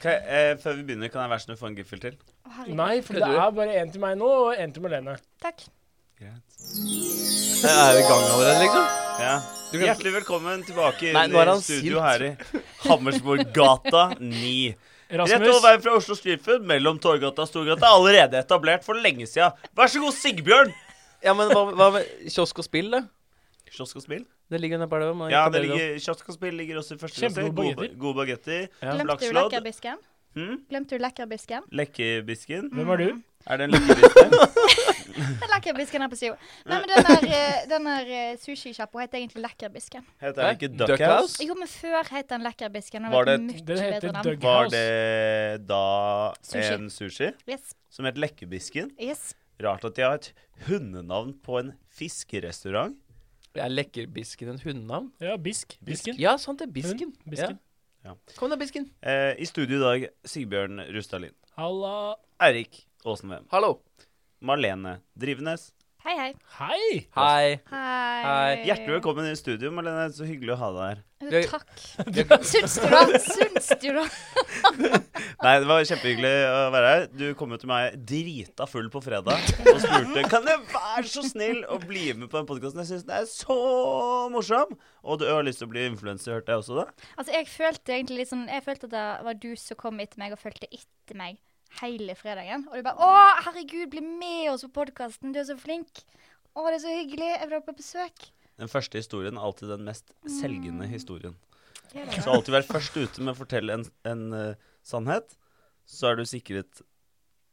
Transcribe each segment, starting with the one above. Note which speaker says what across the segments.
Speaker 1: Kan jeg, eh, før vi begynner, kan jeg være snill å få en giffel til?
Speaker 2: Å, herregud.
Speaker 3: Nei, for det er bare én til meg nå, og én til Marlene.
Speaker 2: Takk.
Speaker 4: Er vi i gang allerede, liksom?
Speaker 1: Ja. Hjertelig velkommen tilbake
Speaker 4: Nei, nå er
Speaker 1: i
Speaker 4: han
Speaker 1: studio her i Hammersborggata 9. Rett over
Speaker 3: Rasmus,
Speaker 1: veien fra Oslo Streetfood mellom Torgata og Storgata. Allerede etablert for lenge sida. Vær så god, Sigbjørn!
Speaker 4: Ja, men hva, hva med kiosk og spill, da?
Speaker 1: Kiosk og spill?
Speaker 4: Det ligger nede bare ved
Speaker 1: Ja, det ligger, kiosk og spill ligger også i første klasse.
Speaker 3: Kjempegode
Speaker 1: Gode,
Speaker 3: bagetter.
Speaker 1: gode bagetter.
Speaker 4: Ja.
Speaker 2: Glemte du
Speaker 1: Flakslodd.
Speaker 2: lekkerbisken?
Speaker 1: Hmm?
Speaker 2: Glemte du lekkerbisken?
Speaker 1: Lekkebisken.
Speaker 2: Mm.
Speaker 3: hvem er du?
Speaker 1: Er det en lekkebiske?
Speaker 2: Den lekkerbisken er på sida. Nei, men den der, eh, den der eh, sushisjappa het egentlig Lekkerbisken.
Speaker 1: Heter den ikke
Speaker 4: Hæ?
Speaker 1: Duckhouse?
Speaker 2: Jo, men før het den Lekkerbisken.
Speaker 1: Var
Speaker 2: Og det
Speaker 1: det-
Speaker 2: mye
Speaker 3: Den heter
Speaker 2: bedre navn.
Speaker 3: Doug-
Speaker 1: Var det da
Speaker 2: Sushi.
Speaker 1: en sushi
Speaker 2: Yes.
Speaker 1: som het Lekkebisken?
Speaker 2: yes.
Speaker 1: Rart at de har et hundenavn på en fiskerestaurant.
Speaker 4: Er Lekkerbisken en hundenavn?
Speaker 3: Ja, Bisk. Bisken.
Speaker 4: Ja, sant det. Bisken.
Speaker 3: Hund, bisken.
Speaker 1: Ja.
Speaker 4: Kom da, Bisken.
Speaker 1: Eh, I studio i dag Sigbjørn Rustadlin.
Speaker 3: Halla.
Speaker 1: Eirik Åsenvem.
Speaker 4: Hallo.
Speaker 1: Marlene Drivenes.
Speaker 2: Hei, hei.
Speaker 3: Hei!
Speaker 4: Hei.
Speaker 2: Hei.
Speaker 1: Hjertelig velkommen i studio, Marlene. Så hyggelig å ha deg her.
Speaker 2: Jo,
Speaker 4: Vi-
Speaker 2: Takk.
Speaker 4: Vi-
Speaker 2: Syns du da? Syns du da?
Speaker 1: Nei, det var kjempehyggelig å være her. Du kom jo til meg drita full på fredag og spurte Kan jeg være så snill å bli med på den podkasten. Jeg syns den er så morsom! Og du har lyst til å bli influenser, hørte jeg også da.
Speaker 2: Altså, jeg følte egentlig litt sånn Jeg følte at det var du som kom etter meg og fulgte etter meg hele fredagen. Og du bare 'Å, herregud, bli med oss på podkasten. Du er så flink.' 'Å, det er så hyggelig. Jeg vil ha deg på besøk.'
Speaker 1: Den første historien er alltid den mest selgende historien.
Speaker 2: Mm. Ja,
Speaker 1: Så alltid vær først ute med å fortelle en, en eh, sannhet, så er du sikret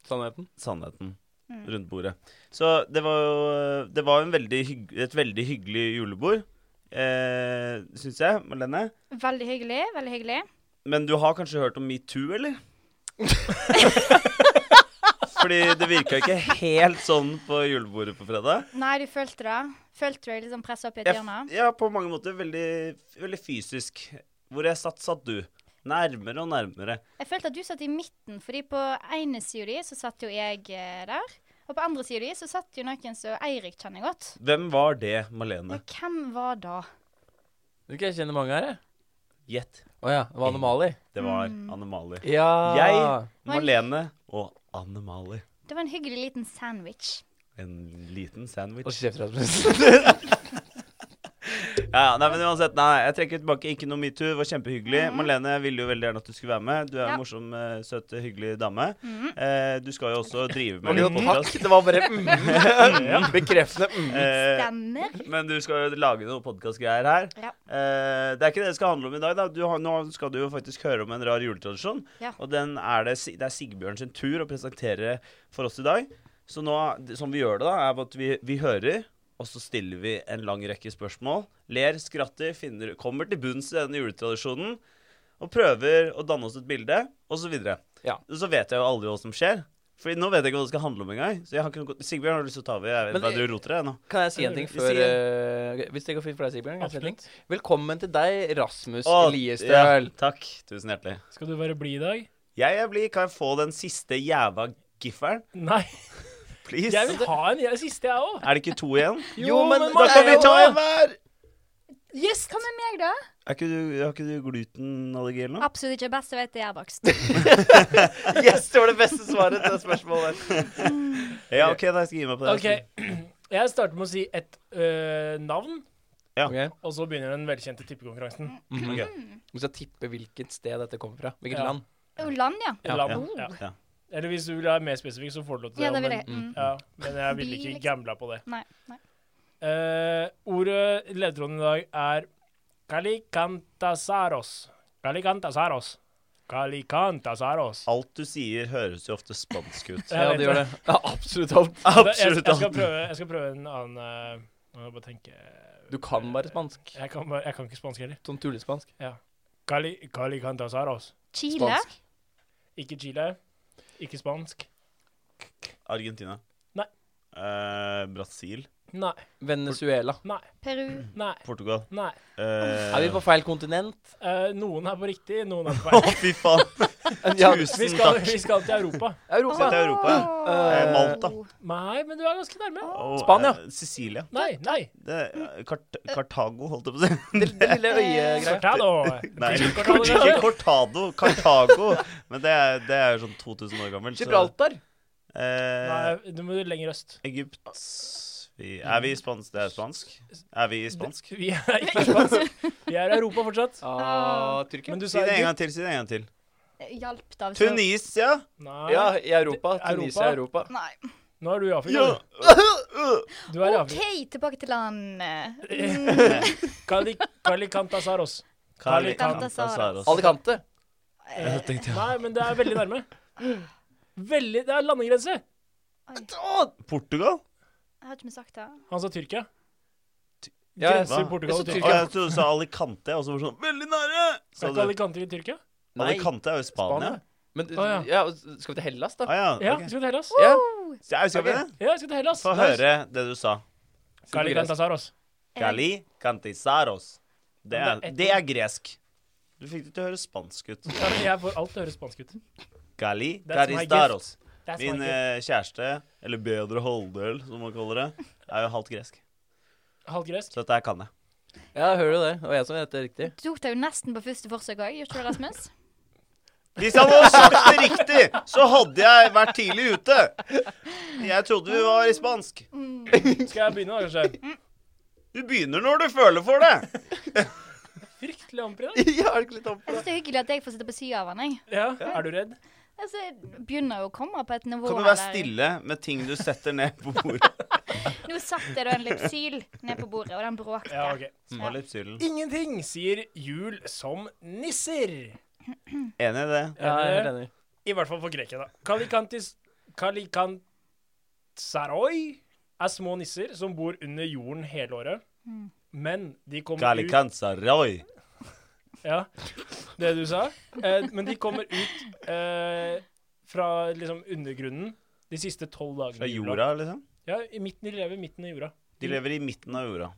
Speaker 4: Sannheten.
Speaker 1: sannheten
Speaker 2: Mm.
Speaker 1: rundt bordet. Så det var jo eh, Det var en veldig hygg, et veldig hyggelig julebord, eh, syns jeg, Malene.
Speaker 2: Veldig hyggelig. Veldig hyggelig.
Speaker 1: Men du har kanskje hørt om metoo, eller? Fordi det virka ikke helt sånn på julebordet på fredag.
Speaker 2: Nei, du følte det. Følte du deg liksom pressa opp i et
Speaker 1: Jeg,
Speaker 2: hjørne?
Speaker 1: f- ja, på mange måter veldig, veldig fysisk. Hvor jeg satt, satt du. Nærmere og nærmere.
Speaker 2: Jeg følte at du satt i midten, fordi på ene sida di så satt jo jeg eh, der. Og på andre sida di så satt jo noen som Eirik kjenner godt.
Speaker 1: Hvem var det, Malene?
Speaker 2: Men hvem var da?
Speaker 4: Du kan kjenne mange her, jeg.
Speaker 1: Gjett.
Speaker 4: Å ja. Det var Anne-Mali.
Speaker 1: Det var Anne-Mali.
Speaker 4: Ja.
Speaker 1: Jeg-
Speaker 2: Var-
Speaker 1: Malene og Anne-Mali.
Speaker 2: Det var en hyggelig liten sandwich.
Speaker 1: En liten sandwich.
Speaker 4: Hold kjeft, Rasmus.
Speaker 1: Ja, nei, men uansett, nei, jeg trekker tilbake. Ikke noe metoo. Det var kjempehyggelig. Malene jeg ville jo veldig gjerne at du skulle være med. Du er en
Speaker 2: Ja.
Speaker 1: morsom, eh, søt, hyggelig dame. Eh, du skal jo også drive med
Speaker 4: Jo,
Speaker 1: litt
Speaker 4: takk.
Speaker 1: podcast.
Speaker 4: Det var bare mm, bekreftende. Mm.
Speaker 1: Eh,
Speaker 2: Stemmer.
Speaker 1: men du skal jo lage noen podkastgreier her.
Speaker 2: Ja.
Speaker 1: Eh, det er ikke det det skal handle om i dag. Da. Du har, nå skal du jo faktisk høre om en rar juletradisjon.
Speaker 2: Ja.
Speaker 1: Og den er det, Si- det er Sigbjørn sin tur å presentere for oss i dag. Så nå, det- som vi gjør det, da, er at vi, vi hører, og så stiller vi en lang rekke spørsmål. Ler, skratter, finner, kommer til bunns i denne juletradisjonen. Og prøver å danne oss et bilde, osv.
Speaker 4: Ja.
Speaker 1: Så vet jeg jo aldri hva som skjer. Fordi nå vet jeg ikke hva det skal handle om engang. Så jeg har ikke noe- Sigbjørn, har du lyst til å ta over? Jeg vet
Speaker 4: Men
Speaker 1: bare
Speaker 4: jeg-
Speaker 1: du roter deg nå.
Speaker 4: Kan jeg si en ting
Speaker 1: Vi
Speaker 4: før
Speaker 1: sier-
Speaker 4: eh, Hvis det går fint for deg, Sigbjørn? kan jeg si en ting?
Speaker 3: Absolutt.
Speaker 4: Velkommen til deg, Rasmus
Speaker 1: Å,
Speaker 4: Eliestøl.
Speaker 1: ja, takk. Tusen hjertelig.
Speaker 3: Skal du være blid i dag?
Speaker 1: Jeg er blid. Kan jeg få den siste jæva gifferen?
Speaker 3: Nei.
Speaker 1: Please?
Speaker 3: Jeg vil ha en jeg, siste, jeg òg.
Speaker 1: Er det ikke to igjen?
Speaker 4: Jo, men
Speaker 1: Da
Speaker 4: det
Speaker 1: kan
Speaker 4: er
Speaker 1: vi
Speaker 4: jo-
Speaker 1: ta en hver!
Speaker 2: Yes. Hva med meg, da?
Speaker 1: Er ikke du, har ikke du glutenallergi eller noe?
Speaker 2: Absolutt ikke best, jeg vet det er bakst.
Speaker 4: Yes, det var det beste svaret til det spørsmålet. der.
Speaker 1: Ja, OK, da skal jeg gi meg på det.
Speaker 3: OK. Jeg starter med å si et øh, navn,
Speaker 4: Ok.
Speaker 3: og så begynner den velkjente tippekonkurransen.
Speaker 5: Mhm.
Speaker 4: Du skal tippe hvilket sted dette kommer fra. Hvilket
Speaker 3: Ja.
Speaker 4: land.
Speaker 2: Land, ja.
Speaker 3: Ja.
Speaker 4: Ja.
Speaker 3: Land, ja.
Speaker 1: Ja.
Speaker 3: Eller hvis du vil være mer spesifikk, så får du lov til det.
Speaker 2: Ja, det vil jeg.
Speaker 3: men-
Speaker 2: Mm.
Speaker 3: Ja, men jeg ville
Speaker 2: Bil,
Speaker 3: ikke
Speaker 2: liksom.
Speaker 3: gambla på det.
Speaker 2: Nei. nei.
Speaker 3: Eh, ordet ledetråden i dag er Calicantasaros. Calicantasaros. Calicantasaros.
Speaker 1: Alt du sier, høres jo ofte spansk ut.
Speaker 3: Jeg
Speaker 4: Ja,
Speaker 3: vet
Speaker 4: det gjør det. Ja, absolutt alt.
Speaker 3: Jeg,
Speaker 1: Absolutt
Speaker 3: jeg, skal
Speaker 1: alt.
Speaker 3: prøve, jeg skal prøve en annen eh, Nå må jeg bare tenke
Speaker 4: Du kan bare spansk.
Speaker 3: Jeg kan, bare- jeg kan ikke spansk heller.
Speaker 4: Sånn tullespansk.
Speaker 3: Cali, Calicantasaros.
Speaker 2: Chile.
Speaker 4: Spansk.
Speaker 3: Ikke Chile. Ikke spansk.
Speaker 1: Argentina.
Speaker 3: Nei.
Speaker 1: Eh, Brasil.
Speaker 3: Nei.
Speaker 5: Venezuela.
Speaker 3: Nei.
Speaker 2: Peru.
Speaker 3: Nei.
Speaker 1: Portugal.
Speaker 3: Nei.
Speaker 1: Eh,
Speaker 5: Er vi på feil kontinent?
Speaker 3: Eh, noen er på riktig, noen er på
Speaker 1: Å,
Speaker 3: feil.
Speaker 1: fy faen!
Speaker 5: Ja,
Speaker 3: Vi
Speaker 1: Tusen
Speaker 3: skal,
Speaker 1: takk.
Speaker 3: vi skal til Europa.
Speaker 5: Europa.
Speaker 1: Sett Europa.
Speaker 5: Eh,
Speaker 1: Malta.
Speaker 3: Nei, men du er ganske nærme.
Speaker 1: Å,
Speaker 5: Spania.
Speaker 1: eh, Sicilia.
Speaker 3: Nei, nei.
Speaker 1: Det, Kart Kartago, holdt jeg på å si.
Speaker 5: Det, det lille øyegreia.
Speaker 3: Cortado.
Speaker 1: Nei,
Speaker 3: Cortado,
Speaker 1: ikke
Speaker 3: det er-
Speaker 1: Cortado. Kartago. Men det er, det er jo sånn 2000 år gammelt. så-
Speaker 5: Gibraltar.
Speaker 1: Eh,
Speaker 3: Nei, du må lenger øst.
Speaker 1: Egypt vi, Er vi i spansk? Det er spansk. Er vi i spansk?
Speaker 3: Vi er ikke spansk. Vi er i Europa fortsatt.
Speaker 5: Ah, Tyrkia.
Speaker 3: Men du sa
Speaker 1: Si det en
Speaker 3: Egypt.
Speaker 1: gang til. si det en gang til
Speaker 2: Hjalp, da. hvis det
Speaker 1: Tunisia!
Speaker 3: Nei.
Speaker 5: Ja, i Europa. Tunisia, Europa.
Speaker 2: var- Nei.
Speaker 3: Nå er du i Afrika.
Speaker 1: Ja.
Speaker 3: Du Du er i Afrika.
Speaker 2: OK, tilbake til land. Eh,
Speaker 3: Kali, Kalikantasaros.
Speaker 1: Kali
Speaker 2: Kantasaros.
Speaker 5: Alicante.
Speaker 1: Jeg tenkte, ja.
Speaker 3: Nei, men det er veldig nærme. Veldig, Det er landegrense.
Speaker 1: Portugal?
Speaker 2: Jeg har ikke vi sagt det?
Speaker 3: Han sa Tyrkia.
Speaker 5: Ja, jeg
Speaker 3: Grenser
Speaker 1: hva?
Speaker 3: Portugal
Speaker 5: Jeg
Speaker 3: og
Speaker 1: Å,
Speaker 5: sa
Speaker 3: Tyrkia.
Speaker 5: Tyrkia.
Speaker 1: jeg trodde du sa Alicante, og så var det sånn Veldig nære!
Speaker 3: Er
Speaker 1: Sa
Speaker 3: ikke
Speaker 1: du
Speaker 3: Alicante i Tyrkia?
Speaker 5: Nei,
Speaker 1: Alicante er jo Spania.
Speaker 5: Spania. Men
Speaker 3: Å, ja.
Speaker 5: ja, skal vi til Hellas, da?
Speaker 1: Å ja.
Speaker 3: Ja,
Speaker 1: Ah, ok.
Speaker 3: skal vi til Hellas?
Speaker 5: Ja.
Speaker 1: Ja, skal vi det?
Speaker 3: Ja, skal vi til Hellas?
Speaker 1: Få høre det du sa.
Speaker 3: Kalikantasaros.
Speaker 1: Kali kantisaros. Det er,
Speaker 3: Men det er et-
Speaker 1: det er gresk. Du fikk det til å høre spansk ut.
Speaker 3: Ja, men jeg får alt til å høres spansk ut.
Speaker 1: Kali
Speaker 3: That's my
Speaker 1: karistaros.
Speaker 3: That's
Speaker 1: Min
Speaker 3: my gift.
Speaker 1: eh, kjæreste, eller bedre halvdel, som man kaller det, er jo halvt gresk.
Speaker 3: Halvt gresk.
Speaker 1: Så dette her kan jeg.
Speaker 5: Ja, hører du det? Det var jeg som gjette det riktig.
Speaker 2: Du tok det jo nesten på første forsøk òg, gjorde ikke du, Rasmus?
Speaker 1: Hvis han hadde sagt det riktig, så hadde jeg vært tidlig ute. Jeg trodde vi var i spansk.
Speaker 3: Skal jeg begynne, da, kanskje?
Speaker 1: Du begynner når du føler for det.
Speaker 3: Fryktelig amper i dag.
Speaker 5: ja, er det ikke litt opp?
Speaker 2: Jeg synes det er hyggelig at jeg får sitte på sida av han, jeg.
Speaker 3: Ja, er du redd?
Speaker 2: Altså, jeg begynner jo å komme på et nivå
Speaker 1: Kan du være
Speaker 2: her der-
Speaker 1: stille med ting du setter ned på bordet?
Speaker 2: Nå satt det da en lypsyl ned på bordet, og den bråkte.
Speaker 3: Ja, ok.
Speaker 1: Små lipsylen.
Speaker 3: Ingenting sier jul som nisser.
Speaker 1: Enig i det.
Speaker 5: Ja, jeg er helt enig.
Speaker 3: I hvert fall for grekere, da. Kalikantis Kalikantsaroi er små nisser som bor under jorden hele året. Men de kommer
Speaker 1: Kalikansaroy.
Speaker 3: ut Ja, det du sa. Eh, men de kommer ut eh, fra liksom undergrunnen de siste tolv dagene.
Speaker 1: Fra
Speaker 3: i jula.
Speaker 1: jorda, liksom.
Speaker 3: Ja, i midten de lever midten av jorda.
Speaker 1: De lever i midten av jorda.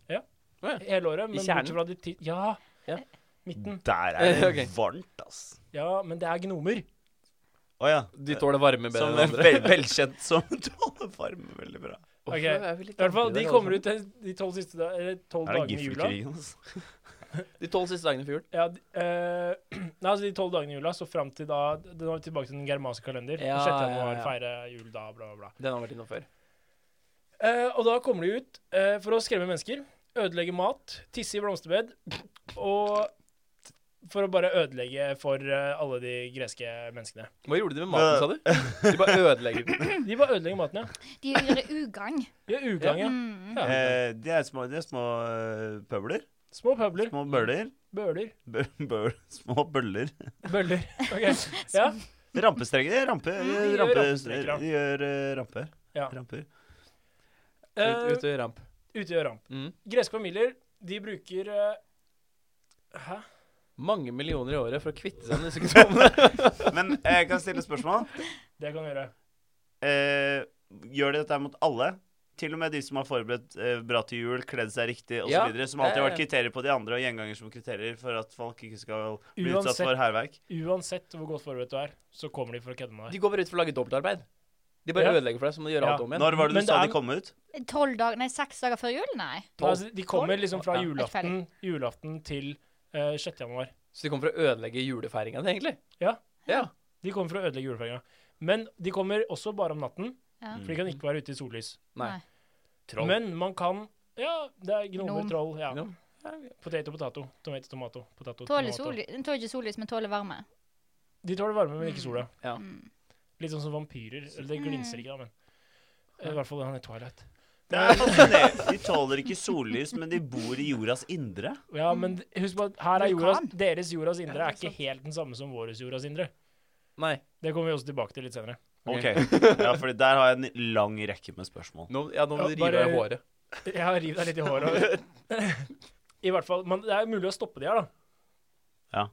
Speaker 3: Hele året, men
Speaker 5: kjernen?
Speaker 3: bortsett fra de ti... Ja.
Speaker 5: Ja.
Speaker 3: Midten.
Speaker 1: Der er det
Speaker 5: Ok.
Speaker 1: varmt, ass.
Speaker 3: Ja, men det er gnomer.
Speaker 1: Å ja.
Speaker 5: De tåler varme bedre
Speaker 1: Som
Speaker 5: enn
Speaker 1: er
Speaker 5: andre.
Speaker 1: vel, velkjent som tåler varme veldig bra.
Speaker 5: Hvorfor
Speaker 3: Ok,
Speaker 5: er vi litt
Speaker 3: I hvert fall,
Speaker 5: andre
Speaker 3: De
Speaker 5: der,
Speaker 3: kommer
Speaker 5: altså?
Speaker 3: ut de de tolv siste da- eller tolv
Speaker 1: Er det
Speaker 3: dagene i jula.
Speaker 1: giffelkrigen, altså?
Speaker 5: De tolv siste dagene for jul.
Speaker 3: Ja, d- eh, nei, altså de tolv dagene i jula, så fram til da det- Nå er vi tilbake til den germanske kalender.
Speaker 5: Ja,
Speaker 3: 6.
Speaker 5: ja,
Speaker 3: januar,
Speaker 5: ja.
Speaker 3: feire jul da, bla, bla, bla.
Speaker 5: Den har vært innom før.
Speaker 3: Eh, og da kommer de ut eh, for å skremme mennesker, ødelegge mat, tisse i blomsterbed og For å bare ødelegge for eh, alle de greske menneskene.
Speaker 5: Hva gjorde de med maten, sa du? De bare ødelegger den.
Speaker 3: De bare ødelegger maten, ja.
Speaker 2: De gjør ugagn.
Speaker 3: De er ugagn, ja.
Speaker 2: Mm.
Speaker 3: Ja.
Speaker 1: Eh, de er små, de er små eh, pøbler.
Speaker 3: Små pøbler.
Speaker 1: Små bøller.
Speaker 3: Bøler.
Speaker 1: Bø bø små bøller.
Speaker 3: Bøller. Ok. Ja.
Speaker 1: Rampestrenger. Rampe,
Speaker 3: Mm,
Speaker 1: eh,
Speaker 3: de gjør
Speaker 1: rampe,
Speaker 3: rampestreker, da.
Speaker 1: de gjør eh, ramper.
Speaker 3: Ja.
Speaker 1: ramper.
Speaker 5: Ut-
Speaker 3: Eh,
Speaker 5: Ute i ramp.
Speaker 3: ute i øra.
Speaker 5: Mm.
Speaker 3: Greske familier, de bruker eh, Hæ?
Speaker 5: Mange millioner i året for å kvitte seg med disse sykdommene.
Speaker 1: Men eh, jeg kan stille spørsmål.
Speaker 3: Det kan du gjøre.
Speaker 1: Eh, gjør de dette her mot alle? Til og med de som har forberedt eh, bra til jul, kledd seg riktig osv.
Speaker 5: Ja.
Speaker 1: videre som alltid har
Speaker 5: Eh.
Speaker 1: vært kriterier på de andre, og gjenganger som kriterier for at folk ikke skal bli utsatt
Speaker 3: Uansett.
Speaker 1: for hærverk.
Speaker 3: Uansett hvor godt forberedt du er, så kommer de for å kødde med deg.
Speaker 5: De går bare ut for å lage dobbeltarbeid. De bare
Speaker 3: Ja.
Speaker 5: ødelegger for deg, så må du gjøre
Speaker 3: Ja.
Speaker 5: alt om igjen.
Speaker 1: Når var det
Speaker 3: Men
Speaker 1: du sa
Speaker 3: det er-
Speaker 1: de kom ut?
Speaker 2: Tolv dager Nei, seks dager før jul, nei.
Speaker 3: Nei, Altså, de kommer liksom fra
Speaker 5: Ja.
Speaker 3: julaften, julaften til eh, 6. januar.
Speaker 5: Så de kommer for å ødelegge julefeiringa di, egentlig.
Speaker 3: Ja.
Speaker 5: ja.
Speaker 3: De kommer for å ødelegge julefeiringa. Men de kommer også bare om natten,
Speaker 2: Ja.
Speaker 3: for de kan ikke være ute i sollys.
Speaker 5: Nei.
Speaker 2: Nei.
Speaker 5: Troll.
Speaker 3: Men man kan Ja, det er gnomer,
Speaker 2: Gnom.
Speaker 3: troll, ja.
Speaker 5: Gnom.
Speaker 3: Potato, potato. Tomato, tomato. potato,
Speaker 2: Tåler
Speaker 3: tomato.
Speaker 2: soli- tåler ikke sollys, men tåler varme.
Speaker 3: De tåler varme, men ikke sola.
Speaker 5: Ja.
Speaker 2: Mm.
Speaker 3: Litt sånn som vampyrer. Eller det glinser ikke, da, men Eh, I hvert fall han i Twilight.
Speaker 1: Det er fascinerende. De tåler ikke sollys, men de bor i jordas indre.
Speaker 3: Ja, Mm. men husk på at her er jordas,
Speaker 2: Vulkan.
Speaker 3: deres jordas indre er
Speaker 5: ikke
Speaker 3: ikke helt den samme som vår jordas indre.
Speaker 5: Nei.
Speaker 3: Det kommer vi også tilbake til litt senere.
Speaker 1: Ok,
Speaker 5: Ok.
Speaker 1: ja, fordi Der har jeg en lang rekke med spørsmål.
Speaker 5: Nå, ja, nå må
Speaker 3: Ja,
Speaker 5: du rive
Speaker 3: bare-
Speaker 5: av håret.
Speaker 3: Jeg har rivet deg litt i håret. I hvert fall, men Det er mulig å stoppe de her, da.
Speaker 1: Ja.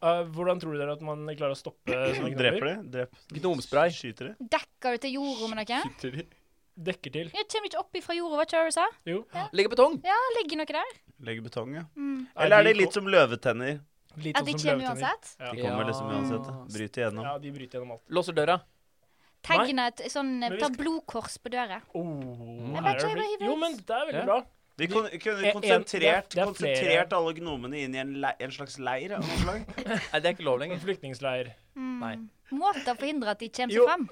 Speaker 3: Eh, hvordan tror du dere at man klarer å stoppe
Speaker 1: Dreper
Speaker 3: sånne sånn knopper?
Speaker 1: de? Drep.
Speaker 5: Gnomspray.
Speaker 1: Skyter de?
Speaker 2: Dekker du til jorda med noe?
Speaker 5: Skyter de.
Speaker 3: dekker til.
Speaker 2: Jeg kommer ikke opp ifra jorda, var ikke det du sa?
Speaker 3: Jo.
Speaker 5: Legger betong.
Speaker 2: Det ligger noe der.
Speaker 1: Legge betong, ja.
Speaker 2: Mm.
Speaker 1: Eller er det litt som løvetenner?
Speaker 3: Litt
Speaker 2: At
Speaker 3: sånn
Speaker 2: de
Speaker 3: som
Speaker 2: kommer
Speaker 3: løvetenner.
Speaker 2: uansett.
Speaker 1: De kommer
Speaker 5: Ja.
Speaker 1: liksom uansett. da. Bryter igjennom.
Speaker 3: Ja, de bryter gjennom alt.
Speaker 5: Låser døra.
Speaker 2: Tegne et sånn
Speaker 3: Men vi
Speaker 2: Ta
Speaker 3: skal-
Speaker 2: blodkors på døra.
Speaker 3: Oh,
Speaker 2: Jeg bare tror jeg bare hiver
Speaker 3: jo,
Speaker 2: ut.
Speaker 3: men det er veldig
Speaker 5: Ja.
Speaker 3: bra.
Speaker 1: Vi kon kunne
Speaker 3: en-
Speaker 1: konsentrert,
Speaker 3: det er- det er
Speaker 1: konsentrert alle gnomene inn i en, le en slags leir. av noe slag.
Speaker 5: Nei, det er ikke lov
Speaker 3: En
Speaker 5: lenger.
Speaker 3: flyktningsleir.
Speaker 2: Mm.
Speaker 5: Nei.
Speaker 2: Måter å forhindre at de kommer
Speaker 3: Jo.
Speaker 2: seg fram.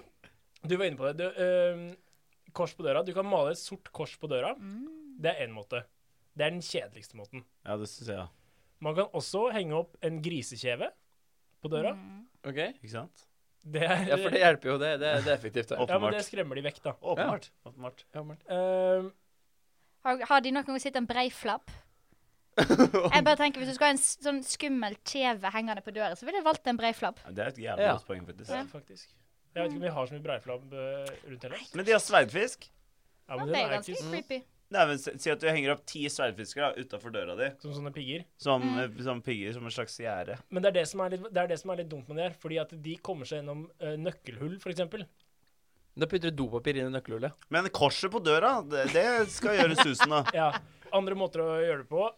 Speaker 3: Du var inne på det. Du, øhm, kors på døra. Du kan male et sort kors på døra.
Speaker 2: Mm.
Speaker 3: Det er én måte. Det er den kjedeligste måten.
Speaker 1: Ja, det syns jeg.
Speaker 3: Man kan også henge opp en grisekjeve på døra.
Speaker 2: Mm.
Speaker 5: Ok?
Speaker 1: Ikke sant?
Speaker 3: Det er,
Speaker 5: Ja, for det hjelper jo. Det, det, det er effektivt. Det.
Speaker 1: Opp.
Speaker 3: ja, men
Speaker 1: åpenbart.
Speaker 3: det skremmer de vekk, da. Ehm,
Speaker 1: Åpenbart. Åpenbart.
Speaker 5: Ja, men-
Speaker 3: Øhm,
Speaker 2: Har, har de noen gang sett en breiflabb? Jeg bare tenker, Hvis du skal ha en s- sånn skummel kjeve hengende på døra, så ville jeg valgt en breiflabb.
Speaker 1: Ja, Det er et jævlig
Speaker 5: Ja.
Speaker 1: godt poeng, faktisk.
Speaker 3: ja, faktisk. Jeg vet ikke om vi har så mye breiflabb øh, rundt heller.
Speaker 1: Men de har sverdfisk.
Speaker 3: Ja,
Speaker 2: Ja,
Speaker 3: men
Speaker 2: det
Speaker 3: den
Speaker 2: er jo
Speaker 3: er
Speaker 2: ganske
Speaker 3: ikke
Speaker 2: creepy.
Speaker 1: Nei, men s- Si at du henger opp ti sverdfisker da, utafor døra di,
Speaker 3: som sånne pigger.
Speaker 1: som,
Speaker 3: Mm.
Speaker 1: eh, som pigger, som en slags gjerde.
Speaker 3: Men det er det som er litt, det er det som er litt dumt med det her. Fordi at de kommer seg gjennom øh, nøkkelhull, for eksempel.
Speaker 5: Da putter du dopapir inn i nøkkelhullet.
Speaker 1: Men korset på døra, det, det skal gjøre susen, da.
Speaker 3: Ja. Andre måter å gjøre det på.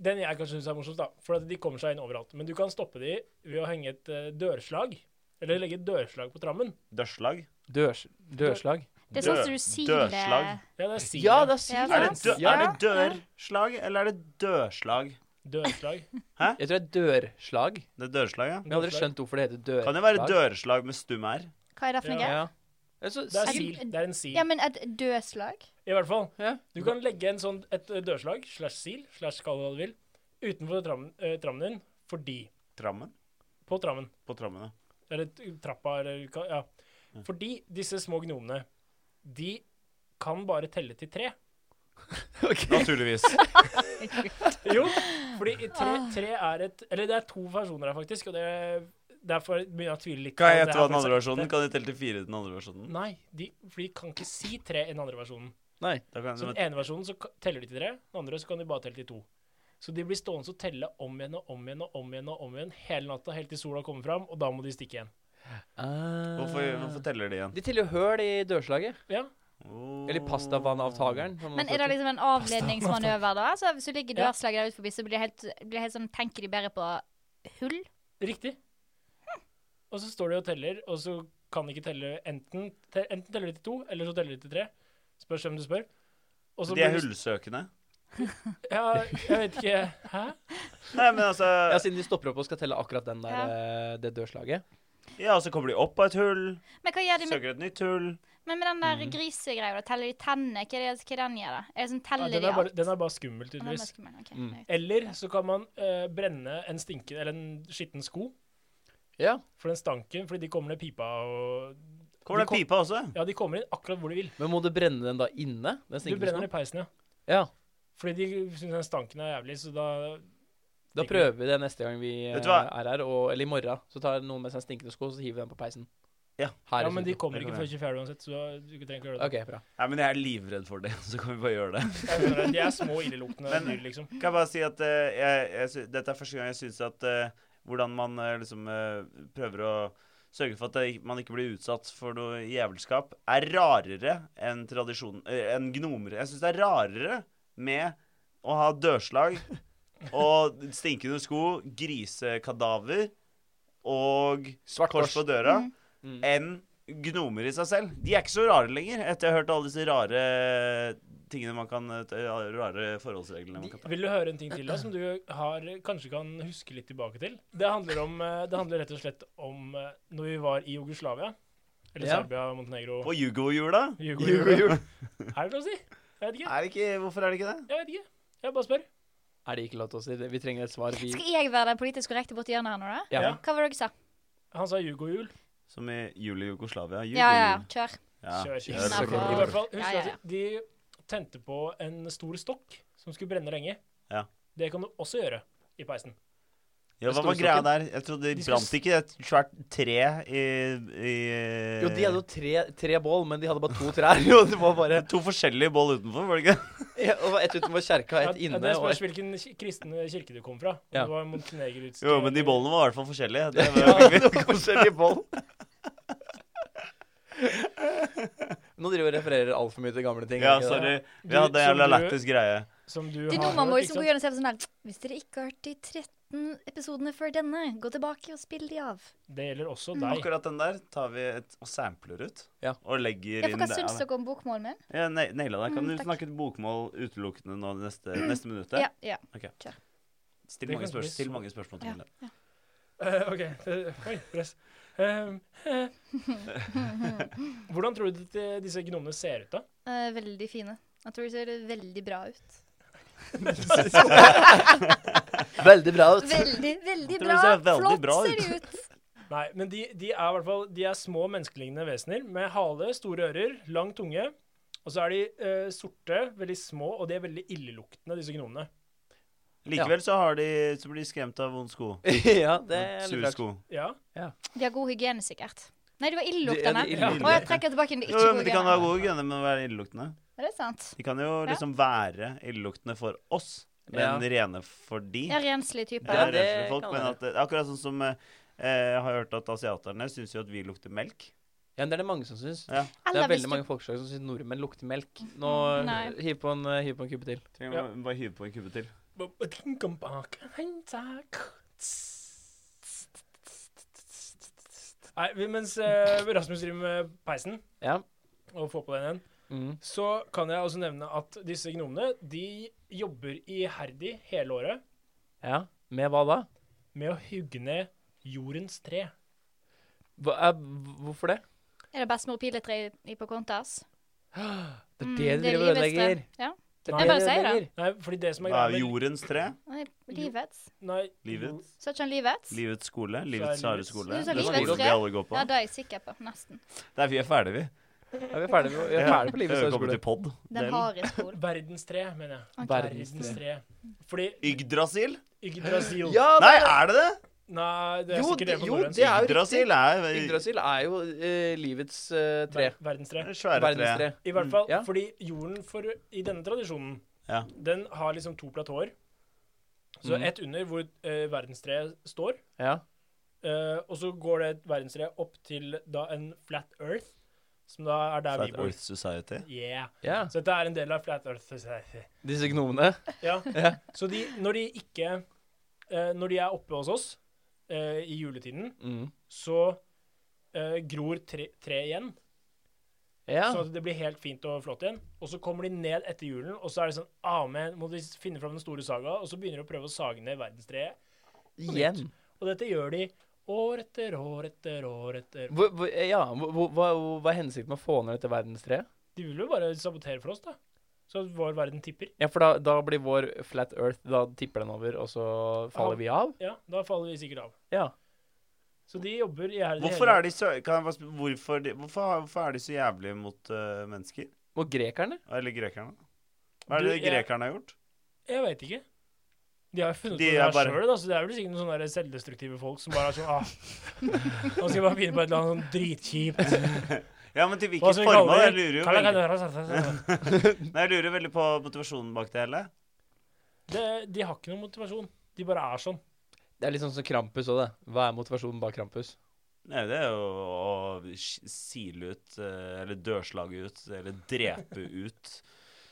Speaker 3: Den jeg kanskje syns er morsomst, da. For at de kommer seg inn overalt. Men du kan stoppe de ved å henge et eh, dørslag. Eller legge et dørslag på trammen.
Speaker 1: Dørslag.
Speaker 5: Dørs, dørslag.
Speaker 2: Det er sånn
Speaker 1: Dør-
Speaker 2: som du sier
Speaker 1: dørslag.
Speaker 3: Ja, det er sier
Speaker 5: Ja,
Speaker 3: jeg.
Speaker 5: det er sier
Speaker 1: Er
Speaker 2: Ja,
Speaker 1: det,
Speaker 5: jeg.
Speaker 1: dø er
Speaker 5: Altså, Ja.
Speaker 1: det dørslag, eller er det dørslag?
Speaker 3: Dørslag.
Speaker 5: Jeg tror det er dørslag.
Speaker 1: Det er dørslag, ja.
Speaker 5: Men Jeg har aldri skjønt hvorfor det heter dørslag.
Speaker 1: Kan det være dørslag med stum r?
Speaker 2: Hva er det for noe?
Speaker 5: Ja. Ja, så-
Speaker 3: Det er
Speaker 2: Er det-
Speaker 3: sil. Det er en sil.
Speaker 2: Ja, men et dødslag?
Speaker 3: I hvert fall.
Speaker 5: Ja.
Speaker 3: Du kan legge en sånn, et eh, dørslag, slash sil, slash kall det hva du vil, utenfor trammen, eh, trammen din fordi
Speaker 1: Trammen?
Speaker 3: På trammen.
Speaker 1: På trammen, ja.
Speaker 3: Eller t- trappa, eller hva- Ja. Fordi disse små gnomene, de kan bare telle til tre.
Speaker 1: Naturligvis.
Speaker 3: Jo, fordi i tre, tre er et Eller det er to versjoner her, faktisk. Og det derfor begynner jeg å tvile litt.
Speaker 1: Hva
Speaker 3: på om det
Speaker 1: heter
Speaker 3: er
Speaker 1: den andre
Speaker 3: faktisk
Speaker 1: versjonen?
Speaker 3: ekte.
Speaker 1: Kan de telle til fire i den andre versjonen?
Speaker 3: Nei, de, for de kan ikke si tre i den andre versjonen.
Speaker 5: Nei.
Speaker 1: Da kan,
Speaker 3: Så den ene versjonen så ka- teller de til tre, den andre så kan de bare telle til to. Så de blir stående og telle om igjen og om igjen og om igjen og om igjen hele natta, helt til sola kommer fram, og da må de stikke igjen.
Speaker 5: Ah.
Speaker 1: hvorfor,
Speaker 3: eh,
Speaker 1: hvorfor teller de igjen?
Speaker 5: De teller jo høl i dørslaget.
Speaker 3: Ja.
Speaker 1: Oh.
Speaker 5: Eller pastavanavtakeren. som
Speaker 2: Men
Speaker 5: man
Speaker 2: er det
Speaker 5: kaller
Speaker 2: liksom en avledningsmanøver, da? Så hvis du ligger
Speaker 3: Ja.
Speaker 2: dørslaget der ute forbi, så blir det helt, blir det helt sånn Tenker de bare på hull?
Speaker 3: Riktig. Og så står de og teller, og så kan de ikke telle enten, te, enten teller de til to, eller så teller de til tre. Spørs hvem du spør. Og så
Speaker 1: De er
Speaker 3: blir det-
Speaker 1: hullsøkende.
Speaker 3: Ja, jeg vet ikke. Hæ?
Speaker 1: Nei, men altså
Speaker 5: Ja, siden de stopper opp og skal telle akkurat den der,
Speaker 2: Ja.
Speaker 5: eh, det dørslaget.
Speaker 1: Ja, så kommer de opp av et hull,
Speaker 2: Men hva gjør de med,
Speaker 1: søker et nytt hull.
Speaker 2: men med den der grisegreia? da? Teller de tennene? Hva er det hva er den gjør, da? Er det sånn
Speaker 3: Ja,
Speaker 2: teller
Speaker 3: den,
Speaker 2: de
Speaker 3: er bare,
Speaker 2: alt?
Speaker 3: den er bare skummel,
Speaker 2: Ja, den er
Speaker 3: tydeligvis.
Speaker 2: skummel, ok.
Speaker 5: Mm.
Speaker 3: Eller så kan man eh, brenne en stinke, eller en skitten sko
Speaker 5: Ja.
Speaker 3: for den stanken, fordi de kommer ned pipa og
Speaker 1: Kommer det en pipe også?
Speaker 3: Ja, de kommer inn akkurat hvor de vil.
Speaker 5: Men må du brenne den da inne? Den
Speaker 3: Du brenner den
Speaker 5: den.
Speaker 3: i peisen, ja.
Speaker 5: Ja.
Speaker 3: Fordi de syns den stanken er jævlig, så da
Speaker 5: Da
Speaker 3: Tenker-
Speaker 5: prøver vi det neste gang vi eh,
Speaker 1: Vet du hva?
Speaker 5: er her, og, eller i morgen. Så tar noen med seg en stinkende sko, så hiver vi den på peisen.
Speaker 1: Ja.
Speaker 5: Her i
Speaker 3: Ja, men de
Speaker 5: studio.
Speaker 3: kommer ikke
Speaker 1: det
Speaker 3: før 24 uansett, så du trenger ikke gjøre det.
Speaker 5: OK, bra.
Speaker 1: Nei, men jeg er livredd for det, så kan vi bare gjøre det.
Speaker 3: Jeg skjønner det. De er små, illeluktende
Speaker 1: Men-
Speaker 3: dyr, liksom.
Speaker 1: Kan jeg bare si at eh, jeg, jeg, sy- dette er første gang jeg syns at eh, hvordan man eh, liksom eh, prøver å sørge for at det, man ikke blir utsatt for noe jævelskap, er rarere enn tradisjon... eh, enn gnomer. Jeg syns det er rarere med å ha dørslag og stinkende sko, grisekadaver og
Speaker 5: Svart
Speaker 1: kors
Speaker 5: kors.
Speaker 1: på døra
Speaker 5: Mm.
Speaker 1: enn gnomer i seg selv. De er ikke så rare lenger, etter jeg har hørt alle disse rare tingene man kan eh, Rare forholdsreglene man kan ta.
Speaker 3: Vil du høre en ting til da, som du har, kanskje kan huske litt tilbake til? Det handler, om, eh, det handler rett og slett om eh, når vi var i Jugoslavia. Eller
Speaker 5: Ja.
Speaker 3: Serbia, Montenegro
Speaker 1: På Jugo-jula?
Speaker 3: Jugo- Er det lov å si? Jeg vet ikke.
Speaker 1: Er det ikke, hvorfor er det ikke det?
Speaker 3: Jeg vet ikke. Jeg bare spør.
Speaker 5: Er det ikke lov til å si det? Vi trenger et svar. Vi
Speaker 2: Skal jeg være den politisk korrekte borti hjørnet her nå, da?
Speaker 5: Ja.
Speaker 3: Ja.
Speaker 2: Hva var det dere sa?
Speaker 3: Han sa jugo-jul.
Speaker 1: Som i juli Jugoslavia. Jugo-jul.
Speaker 2: Ja, ja, ja. Kjør.
Speaker 3: Kjør, kjør.
Speaker 1: Ja,
Speaker 2: Nei,
Speaker 1: det er
Speaker 2: for-
Speaker 3: I hvert fall,
Speaker 2: Ja,
Speaker 3: husk
Speaker 2: ja, ja.
Speaker 3: at de tente på en stor stokk som skulle brenne lenge.
Speaker 1: Ja.
Speaker 3: Det kan du også gjøre i peisen.
Speaker 1: Ja, hva var
Speaker 5: Storstokken.
Speaker 1: greia der? Jeg trodde
Speaker 3: De
Speaker 1: de
Speaker 3: skulle
Speaker 1: brant ikke et svært tre i, i
Speaker 5: Jo, de
Speaker 1: Eh.
Speaker 5: hadde jo tre, tre bål, men de hadde bare to trær. Og det var bare
Speaker 1: To forskjellige bål utenfor, var det ikke?
Speaker 5: ja, og det var Ett utenfor kjerka,
Speaker 3: Ja,
Speaker 5: ett
Speaker 3: ja,
Speaker 5: inne.
Speaker 3: det
Speaker 5: og
Speaker 3: spørs
Speaker 5: ett-
Speaker 3: hvilken ki- kristen kirke du kom fra. Om
Speaker 5: Ja.
Speaker 3: det var montenegrinsk
Speaker 1: Jo, men de bollene var i hvert fall forskjellige. Det var,
Speaker 5: Ja, det var forskjellige bål. Nå driver vi og refererer altfor mye til gamle ting.
Speaker 1: Ja,
Speaker 5: er ikke det?
Speaker 1: sorry. Vi
Speaker 3: Du-
Speaker 1: hadde en
Speaker 3: som
Speaker 1: jævla
Speaker 3: du-
Speaker 1: lættis greie.
Speaker 3: Som du
Speaker 2: Det er
Speaker 3: har
Speaker 2: noen man må
Speaker 3: hørt,
Speaker 2: liksom gå
Speaker 3: ikke sant?
Speaker 2: gjennom selv sånn her Hvis dere ikke har hørt de 13 episodene før denne, gå tilbake og spill de av.
Speaker 3: Det gjelder også
Speaker 2: Mm.
Speaker 3: deg.
Speaker 1: Akkurat den der tar vi et, og sampler ut.
Speaker 5: Ja.
Speaker 1: Og legger
Speaker 2: Ja,
Speaker 1: inn
Speaker 2: for hva
Speaker 1: det-
Speaker 2: syns dere om bokmålet mitt?
Speaker 1: Ja, ne- Naila deg. Kan du
Speaker 2: Mm, takk.
Speaker 1: snakke bokmål utelukkende nå det neste, neste minuttet?
Speaker 2: Ja, ja.
Speaker 1: Still,
Speaker 3: Det
Speaker 1: mange
Speaker 3: kan bli
Speaker 1: spørsmål,
Speaker 3: så-
Speaker 1: still mange spørsmål til
Speaker 2: Ja.
Speaker 1: Mille.
Speaker 3: Eh, OK. eh, Oi, press. Ehm, eh. Hvordan tror du at eh, disse gnomene ser ut, da?
Speaker 2: Eh, veldig fine. Jeg tror de ser veldig bra ut.
Speaker 5: Veldig bra ut.
Speaker 2: Veldig, veldig
Speaker 1: Jeg tror
Speaker 2: bra.
Speaker 1: de ser veldig
Speaker 2: Flott
Speaker 1: bra
Speaker 2: ser de ut.
Speaker 3: Nei, men de, de er i hvert fall De er små menneskelignende vesener med hale, store ører, lang tunge. Og så er de eh, sorte, veldig små, og de er veldig illeluktende, disse gnomene.
Speaker 1: Likevel så, har de, så blir de skremt av vond sko.
Speaker 5: ja, det er litt
Speaker 1: Sure
Speaker 5: rart.
Speaker 1: sko.
Speaker 3: Ja.
Speaker 2: De har god hygiene, sikkert. Nei, det var
Speaker 5: De-
Speaker 2: illeluktende.
Speaker 5: ja, de
Speaker 2: Å,
Speaker 5: illeluktende.
Speaker 2: jeg trekker tilbake. Det er
Speaker 1: Jo,
Speaker 2: ikke
Speaker 1: men
Speaker 2: god
Speaker 1: de kan ha
Speaker 2: hygiene.
Speaker 1: gode grunner med å være illeluktende.
Speaker 2: Er det sant?
Speaker 1: De kan jo
Speaker 2: Ja.
Speaker 1: liksom være illeluktende for oss, men rene for de.
Speaker 2: Jeg er renslig type.
Speaker 1: Det er
Speaker 5: Ja, det
Speaker 1: renslig folk,
Speaker 5: kan
Speaker 1: men
Speaker 5: være.
Speaker 1: at, det- akkurat sånn som eh, eh, jeg har hørt at asiaterne syns jo at vi lukter melk.
Speaker 5: Ja, det er det mange som syns.
Speaker 1: Ja.
Speaker 5: Det
Speaker 2: Eller
Speaker 5: er
Speaker 2: hvis
Speaker 5: veldig
Speaker 2: du
Speaker 5: mange folkeslag som syns nordmenn lukter melk. Nå
Speaker 2: Nei.
Speaker 5: hiv på en, hiv på en kubbe til.
Speaker 1: Trenger
Speaker 3: Ja.
Speaker 1: man bare hive på en kubbe til.
Speaker 3: Nei, vi- mens eh, Rasmus driver med peisen
Speaker 5: Ja.
Speaker 3: og får på den igjen,
Speaker 5: Mm.
Speaker 3: så kan jeg også nevne at disse gnomene de jobber iherdig hele året
Speaker 5: ja. Med hva da?
Speaker 3: med å hugge ned jordens tre.
Speaker 5: Hva, er, hvorfor det?
Speaker 2: Er det bestemor Piletre i- i på Contas?
Speaker 5: Det
Speaker 2: Mm,
Speaker 5: er det de driver og
Speaker 2: livets tre.
Speaker 5: ødelegger.
Speaker 2: Ja.
Speaker 5: Det
Speaker 3: Nei.
Speaker 5: er
Speaker 2: Jeg
Speaker 5: det
Speaker 2: bare
Speaker 5: de
Speaker 2: sier det.
Speaker 5: ødelegger.
Speaker 3: Nei, fordi det som er
Speaker 1: Hva
Speaker 3: greia
Speaker 1: er
Speaker 3: med
Speaker 1: jordens tre?
Speaker 2: Nei, Livets.
Speaker 3: Nei,
Speaker 1: Livets?
Speaker 2: Sa ikke han livets?
Speaker 1: Livets skole?
Speaker 3: livets-
Speaker 1: Livets harde skole?
Speaker 2: Du sa
Speaker 1: Den
Speaker 2: livets
Speaker 1: skolen
Speaker 2: tre.
Speaker 1: vi alle går på.
Speaker 2: Ja, det er jeg sikker på. Nesten.
Speaker 1: Der, vi er ferdige, vi.
Speaker 5: Ja, vi er ferdig, med- vi er ferdig på livets
Speaker 1: Vi er kommet
Speaker 5: høyskole.
Speaker 1: til pod.
Speaker 2: Den har i skolen.
Speaker 3: Verdens tre, mener jeg.
Speaker 2: Ok.
Speaker 5: Verdens
Speaker 3: Verdens
Speaker 5: tre.
Speaker 3: tre. Fordi
Speaker 1: Yggdrasil?
Speaker 3: Yggdrasil
Speaker 5: Ja,
Speaker 1: Nei, er det det?
Speaker 3: Nei, det er
Speaker 5: Jo,
Speaker 3: sikkert det
Speaker 5: det-
Speaker 3: på
Speaker 5: jo,
Speaker 3: norrønt.
Speaker 5: det er jo
Speaker 1: Yggdrasil er
Speaker 5: Yggdrasil er jo eh, livets eh, tre.
Speaker 3: Ver- Verdens tre.
Speaker 1: det svære tre.
Speaker 5: Verdens tre.
Speaker 3: I hvert fall,
Speaker 5: Ja.
Speaker 3: fordi jorden for, i denne tradisjonen,
Speaker 1: Ja.
Speaker 3: den har liksom to platåer. Så
Speaker 5: Mhm.
Speaker 3: ett under hvor eh, verdenstreet står,
Speaker 5: Ja.
Speaker 3: eh, og så går det verdenstreet opp til da en flat earth, som da er der vi
Speaker 1: Flat
Speaker 3: bor.
Speaker 1: Earth Society.
Speaker 3: Yeah.
Speaker 5: ja.
Speaker 3: Så dette er en del av flat earth. Society.
Speaker 5: Disse gnomene.
Speaker 3: Ja.
Speaker 5: Ja.
Speaker 3: Så de, når de ikke eh, Når de er oppe hos oss eh, i juletiden,
Speaker 5: Mm.
Speaker 3: så eh, gror tre, tre igjen.
Speaker 5: Ja.
Speaker 3: Sånn at det blir helt fint og flott igjen. Og så kommer de ned etter julen, og så er det sånn Amen, må de finne fram den store saga, og så begynner de å prøve å sage ned verdenstreet.
Speaker 5: Igjen.
Speaker 3: Og dette gjør de år etter år etter år etter
Speaker 5: Hvor, hvor, eh, ja, hvor, hvor, hva, hva er hensikten med å få ned dette verdenstreet?
Speaker 3: De vil jo bare sabotere for oss, da. Så at vår verden tipper.
Speaker 5: Ja, for da, da blir vår flat earth Da tipper den over, og så faller vi av?
Speaker 3: Ja, da faller vi sikkert av.
Speaker 5: Ja.
Speaker 3: Så de jobber iherdig.
Speaker 1: Hvorfor er de så, kan jeg bare spørre, hvorfor, de, hvorfor, hvorfor er de så jævlige mot eh, mennesker?
Speaker 5: Og grekerne?
Speaker 1: Eller grekerne? Hva er det
Speaker 3: Du, jeg-
Speaker 1: grekerne har gjort?
Speaker 3: Jeg veit ikke. De har jo funnet
Speaker 1: De
Speaker 3: på det
Speaker 1: er
Speaker 3: her
Speaker 1: bare-
Speaker 3: sjøl, da, så det er vel sikkert noen sånne der selvdestruktive folk som bare er sånn ah, Nå skal vi bare finne på et eller annet sånn dritkjipt.
Speaker 1: Ja, men til
Speaker 3: Hva
Speaker 1: hvilket
Speaker 3: skal vi
Speaker 1: formål?
Speaker 3: kalle
Speaker 1: Jeg lurer jo veldig,
Speaker 3: det? Sånn,
Speaker 1: Nei, jeg lurer veldig på motivasjonen bak det hele.
Speaker 3: Det, de har ikke noen motivasjon. De bare er sånn.
Speaker 5: Det er litt sånn som Krampus òg, det. Hva er motivasjonen bak Krampus?
Speaker 1: Nei, det er jo å sk- sile ut, eh, eller dørslage ut, eller drepe ut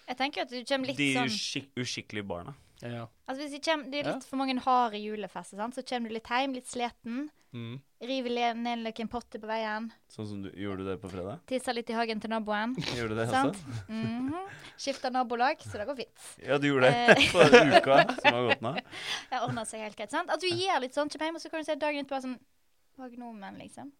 Speaker 2: Jeg tenker at du kommer litt
Speaker 1: de
Speaker 2: sånn
Speaker 1: uskik uskikkelige barna.
Speaker 5: Ja.
Speaker 2: Altså hvis det, kommer, det er
Speaker 5: Ja.
Speaker 2: litt for mange harde julefester, sant? så kommer du litt hjem, litt sliten.
Speaker 5: Mm.
Speaker 2: River le- ned en løken potte på veien.
Speaker 1: Sånn som du gjorde du det på fredag?
Speaker 2: Tisser litt i hagen til naboen.
Speaker 1: Gjorde du det,
Speaker 2: Sant?
Speaker 1: altså?
Speaker 2: Mhm. Skifter nabolag, så det går fint.
Speaker 1: Ja, du gjorde det
Speaker 2: Eh.
Speaker 1: på den uka som har gått nå.
Speaker 2: Det ordner seg helt greit. sant? At du gir litt sånn, kommer hjem, og så kan du se dagen etterpå sånn Var gnomen, liksom.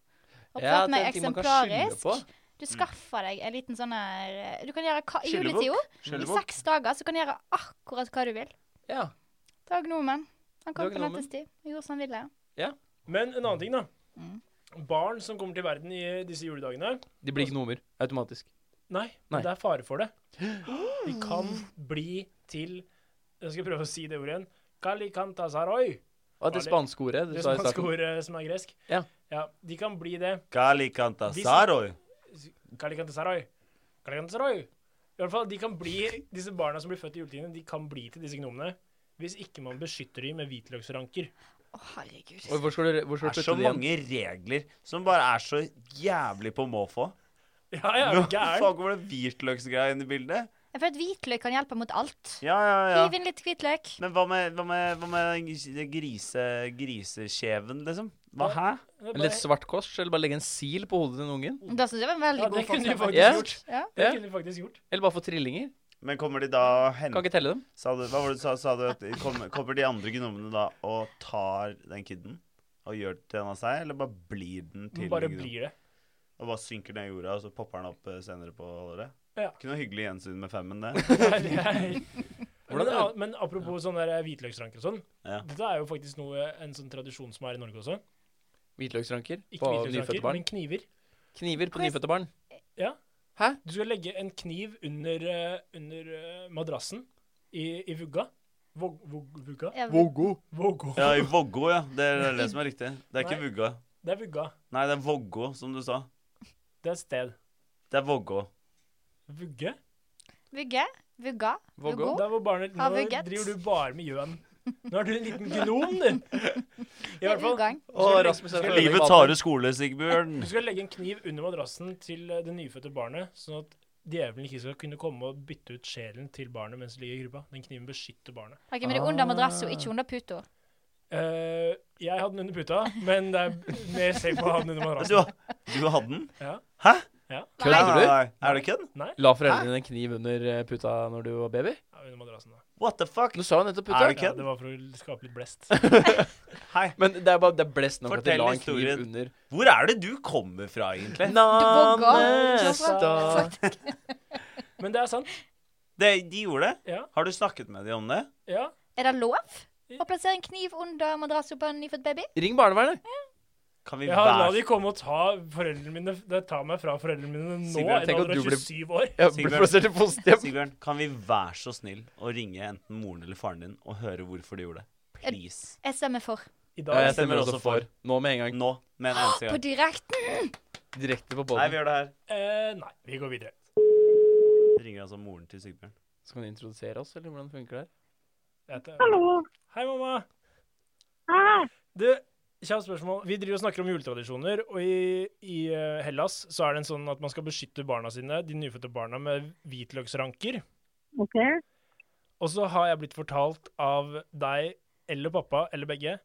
Speaker 2: Oppført meg eksemplarisk. Du skaffer deg en liten sånn her eh, Du kan gjøre hva i
Speaker 1: Skyllebok.
Speaker 2: juletida. I
Speaker 1: Skyllebok.
Speaker 2: seks dager så kan du gjøre akkurat hva du vil.
Speaker 5: Ja.
Speaker 2: Det var gnomen. Han kom
Speaker 5: Det
Speaker 2: på
Speaker 5: var gnomen.
Speaker 2: nattestid og gjorde som han ville.
Speaker 3: Men en annen ting, da.
Speaker 2: Mm.
Speaker 3: Barn som kommer til verden i disse juledagene
Speaker 5: De blir gnomer automatisk.
Speaker 3: Nei,
Speaker 5: Nei.
Speaker 3: det er fare for det. De kan bli til Jeg skal prøve å si det ordet igjen. Kalikantasaroi.
Speaker 5: Og det
Speaker 3: Farlig.
Speaker 5: spanske ordet du
Speaker 3: Det
Speaker 5: sa i
Speaker 3: spanske
Speaker 5: starten.
Speaker 3: ordet som er gresk.
Speaker 5: Ja.
Speaker 3: ja. De kan bli det.
Speaker 1: Kalikantasaroi.
Speaker 3: Kalikantasaroi. Kalikantasaroi. I hvert fall, de kan bli, Disse barna som blir født i juletiden, de kan bli til disse gnomene hvis ikke man beskytter dem med hvitløksranker.
Speaker 2: Å, herregud.
Speaker 5: Og hvor skal du, hvor
Speaker 1: Det
Speaker 5: skal
Speaker 1: er
Speaker 5: du
Speaker 1: så
Speaker 5: putte det igjen?
Speaker 1: mange regler som bare er så jævlig på måfå.
Speaker 3: Ja, ja, er
Speaker 1: Nå
Speaker 3: du gæren?
Speaker 1: faen kommer det hvitløksgreie inn i bildet.
Speaker 2: Jeg føler at hvitløk kan hjelpe mot alt.
Speaker 1: Ja, ja, ja.
Speaker 2: Hiv inn litt hvitløk.
Speaker 1: Men hva med, hva med, hva med gris- grise, grisekjeven, liksom? Hva, hæ?
Speaker 3: Det er
Speaker 5: En litt
Speaker 3: bare-
Speaker 5: svart kors, eller bare legge en sil på hodet til en unge?
Speaker 2: Da syns jeg var en veldig
Speaker 3: Ja,
Speaker 2: god
Speaker 3: det kunne du
Speaker 2: forklaring.
Speaker 3: faktisk
Speaker 5: Ja.
Speaker 3: gjort.
Speaker 2: Ja.
Speaker 3: Det
Speaker 5: Ja.
Speaker 3: kunne du faktisk gjort.
Speaker 5: Eller bare få trillinger?
Speaker 1: Men kommer de da og
Speaker 5: Kan
Speaker 1: henter
Speaker 5: ikke telle dem.
Speaker 1: sa du, Hva var det du sa? sa du at de kommer, kommer de andre gnomene da og tar den kiden? Og gjør det til en av seg, eller bare blir den til
Speaker 3: Bare
Speaker 1: en gnom?
Speaker 3: blir det.
Speaker 1: Og bare synker ned i jorda, og så popper den opp eh, senere på året?
Speaker 3: Ja.
Speaker 1: Ikke noe hyggelig gjensyn med femmen, det.
Speaker 3: Nei, det er- Men,
Speaker 5: Hvordan er
Speaker 3: a- men apropos sånne der hvitløksranker og sånn.
Speaker 1: Ja.
Speaker 3: Dette er jo faktisk noe, en sånn tradisjon som er i Norge også.
Speaker 5: Hvitløksranker
Speaker 3: Ikke
Speaker 5: på
Speaker 3: hvitløksranker,
Speaker 5: nyfødte barn.
Speaker 3: men kniver.
Speaker 5: Kniver på nyfødte barn.
Speaker 3: Du skal legge en kniv under, eh, under eh, madrassen i, i vugga. Vog, vog, vugga?
Speaker 2: Ja,
Speaker 3: Vågå.
Speaker 1: Ja, i Vågå, ja. Det er det som er riktig. Det er ikke
Speaker 3: Nei.
Speaker 1: Vugga.
Speaker 3: Det er vugga.
Speaker 1: Nei, det er Vågå, som du sa.
Speaker 3: Det er et sted.
Speaker 1: Det er Vågå.
Speaker 3: Vugge?
Speaker 2: Vugge. Vugga.
Speaker 5: Vågå.
Speaker 2: Vuggo.
Speaker 3: Der hvor barnet Nå
Speaker 2: Har vugget.
Speaker 3: driver du bare med gjøn. Nå er du en liten gnom, du. I
Speaker 2: Med
Speaker 3: hvert fall.
Speaker 2: ugang.
Speaker 3: Du skal, legge,
Speaker 5: Rasmus er
Speaker 3: skal
Speaker 1: Livet tar ut skole, Sigbjørn.
Speaker 3: du skal legge en kniv under madrassen til eh, det nyfødte barnet, sånn at djevelen ikke skal kunne komme og bytte ut sjelen til barnet mens det ligger i gruppa. Den kniven beskytter barnet.
Speaker 2: Ok, men det er under madrasso, ikke under puto.
Speaker 3: Eh, jeg hadde den under puta, men det er mer safe å ha den under
Speaker 1: Du,
Speaker 3: madrassen.
Speaker 1: du hadde den?
Speaker 3: Ja.
Speaker 1: Hæ?
Speaker 5: Kødder du?
Speaker 1: Nei, Er det kødd?
Speaker 5: La foreldrene dine en kniv under eh, puta når du var baby?
Speaker 3: Ja, under madrassen, da.
Speaker 1: What the fuck?
Speaker 5: Du sa jo nettopp
Speaker 1: Er
Speaker 5: puta.
Speaker 1: det
Speaker 3: Ja,
Speaker 1: kødd?
Speaker 3: det var for å skape litt blest.
Speaker 1: Hei.
Speaker 5: Men det er bare det er blest nok at de
Speaker 1: Fortell
Speaker 5: la en kniv
Speaker 1: historien.
Speaker 5: under
Speaker 1: Hvor er det du kommer fra, egentlig?
Speaker 5: Nannestad.
Speaker 3: Men det er sant.
Speaker 1: Det, de gjorde det?
Speaker 3: Ja.
Speaker 1: Har du snakket med dem om det?
Speaker 3: ja.
Speaker 2: Er det lov å plassere en kniv under madrasso på en nyfødt baby?
Speaker 5: Ring barnevernet.
Speaker 1: Kan vi
Speaker 3: Jeg har, la de komme og ta foreldrene mine Det tar meg fra foreldrene mine nå, i en
Speaker 1: Sigbjørn,
Speaker 5: tenk at
Speaker 3: alder av
Speaker 5: du blir-
Speaker 3: 27 år.
Speaker 5: Jeg ble
Speaker 1: Sigbjørn.
Speaker 5: plassert i fosterhjem.
Speaker 1: Sigbjørn, kan vi være så snill å ringe enten moren eller faren din og høre hvorfor de gjorde det? Please.
Speaker 2: Jeg stemmer for.
Speaker 3: I
Speaker 5: Ja,
Speaker 3: dag
Speaker 5: jeg stemmer også for. Nå med en gang.
Speaker 1: Nå, med en eneste
Speaker 2: På
Speaker 1: gang.
Speaker 2: direkten!
Speaker 5: Direkte på
Speaker 1: Nei,
Speaker 5: podden
Speaker 1: vi gjør det her.
Speaker 3: eh, Nei, vi går videre.
Speaker 1: Ringer altså moren til Sigbjørn.
Speaker 5: Skal man introdusere oss, eller hvordan funker det her?
Speaker 3: Jeg tar-
Speaker 6: Hallo.
Speaker 3: Hei, mamma.
Speaker 6: Hei.
Speaker 3: Du, kjapt spørsmål. Vi driver og snakker om juletradisjoner, og i, i eh, Hellas så er det en sånn at man skal beskytte barna sine, de nyfødte barna, med hvitløksranker.
Speaker 6: OK.
Speaker 3: Og så har jeg blitt fortalt av deg eller pappa, eller begge,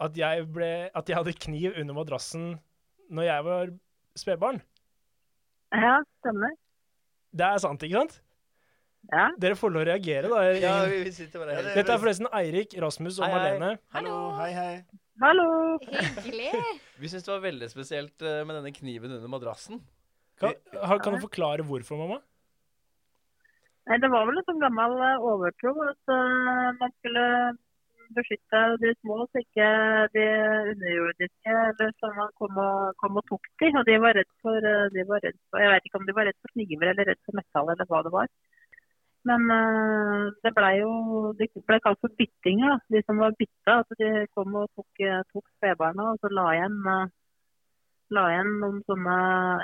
Speaker 3: at jeg, ble, at jeg hadde kniv under madrassen når jeg var spedbarn.
Speaker 6: Ja, stemmer.
Speaker 3: Det er sant, ikke sant?
Speaker 6: Ja.
Speaker 3: Dere får lov å reagere, da. gjengen.
Speaker 5: vi sitter bare
Speaker 1: her.
Speaker 3: Dette er forresten Eirik, Rasmus og
Speaker 5: Eh, Hei, hei.
Speaker 3: Marlene.
Speaker 1: Hallo, hei, hei.
Speaker 6: Hallo.
Speaker 2: Hyggelig.
Speaker 5: Vi syns det var veldig spesielt eh, med denne kniven under madrassen.
Speaker 3: Kan, har, kan du forklare hvorfor, mamma?
Speaker 6: Nei, det var vel en sånn gammel eh, overtro at eh, man skulle beskytte de små, så ikke de underjordiske eller sånn man kom og, kom og tok de. Og de var redd for, eh, de var redd for Jeg vet ikke om de var redd for kniver eller redd for metall eller hva det var. Men eh, det blei jo Det ble kalt for byttinger, da. De som var bytta. At de kom og tok, eh, tok spedbarna, og så la igjen eh, La igjen noen sånne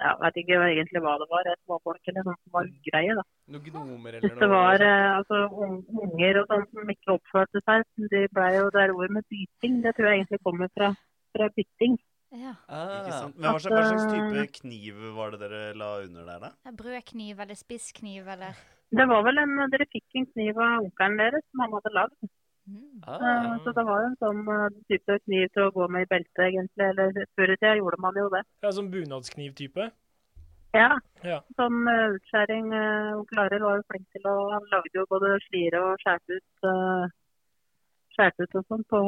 Speaker 6: Jeg vet ikke egentlig hva det var. eh, Småfolk eller noe som var ugreie, da.
Speaker 5: Noen gnomer eller
Speaker 6: Hvis
Speaker 5: noe.
Speaker 6: det var eh, altså, un- unger og sånt som ikke oppførte seg, de ble jo det er ordet med byting. Det tror jeg egentlig kommer fra, fra bytting.
Speaker 2: Ja.
Speaker 6: eh,
Speaker 1: Ikke
Speaker 5: ah,
Speaker 1: sant? Men hva slags, hva
Speaker 6: At,
Speaker 1: slags type
Speaker 6: eh,
Speaker 1: kniv var det dere la under der, da?
Speaker 2: Brødkniv eller spisskniv eller
Speaker 6: Det var vel en, Dere fikk en kniv av onkelen deres som han hadde lagd.
Speaker 2: mm.
Speaker 6: Eh, Så
Speaker 5: ah.
Speaker 6: det var jo en sånn eh, type kniv til å gå med i beltet, egentlig. Eller før i tida gjorde man jo det.
Speaker 3: Ja, Sånn bunadskniv-type.
Speaker 6: Ja.
Speaker 3: Ja.
Speaker 6: Sånn eh, utskjæring eh, Onkel Arild var jo flink til å Han lagde jo både slire og skjærte ut eh, Skjærte ut og sånn på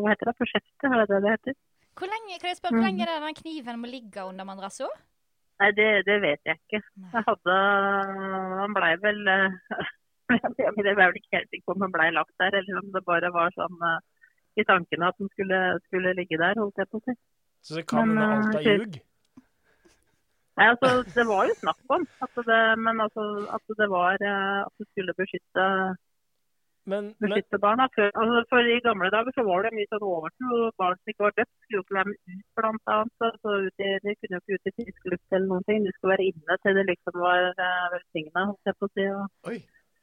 Speaker 6: Hva heter det? På skjeftet, er det det det heter?
Speaker 2: Hvor lenge kan jeg spørre, hvor lenge er det den kniven må ligge under madrasso?
Speaker 6: Nei, det, det vet jeg ikke.
Speaker 2: Nei.
Speaker 6: Jeg hadde Han blei vel eh, Jeg ble vel ikke helt sikker på om han blei lagt der, eller om det bare var sånn eh, i tankene at den skulle, skulle ligge der, holdt jeg på å si.
Speaker 3: Så det kan hende
Speaker 6: Men,
Speaker 3: alt
Speaker 6: eh,
Speaker 3: er ljug.
Speaker 6: Nei, altså, Det var jo snakk om, at det, men altså, at det var eh, at det skulle beskytte,
Speaker 3: Men, men
Speaker 6: beskytte barna. Før, altså, for I gamle dager så var det mye sånn overtro. Barn som ikke var døpt, skulle jo ikke være med ut, blant annet. Så, så ut i, de kunne jo ikke ut i frisk luft eller noen ting. De skulle være inne til det liksom var eh, velsigna, holdt jeg på å si. og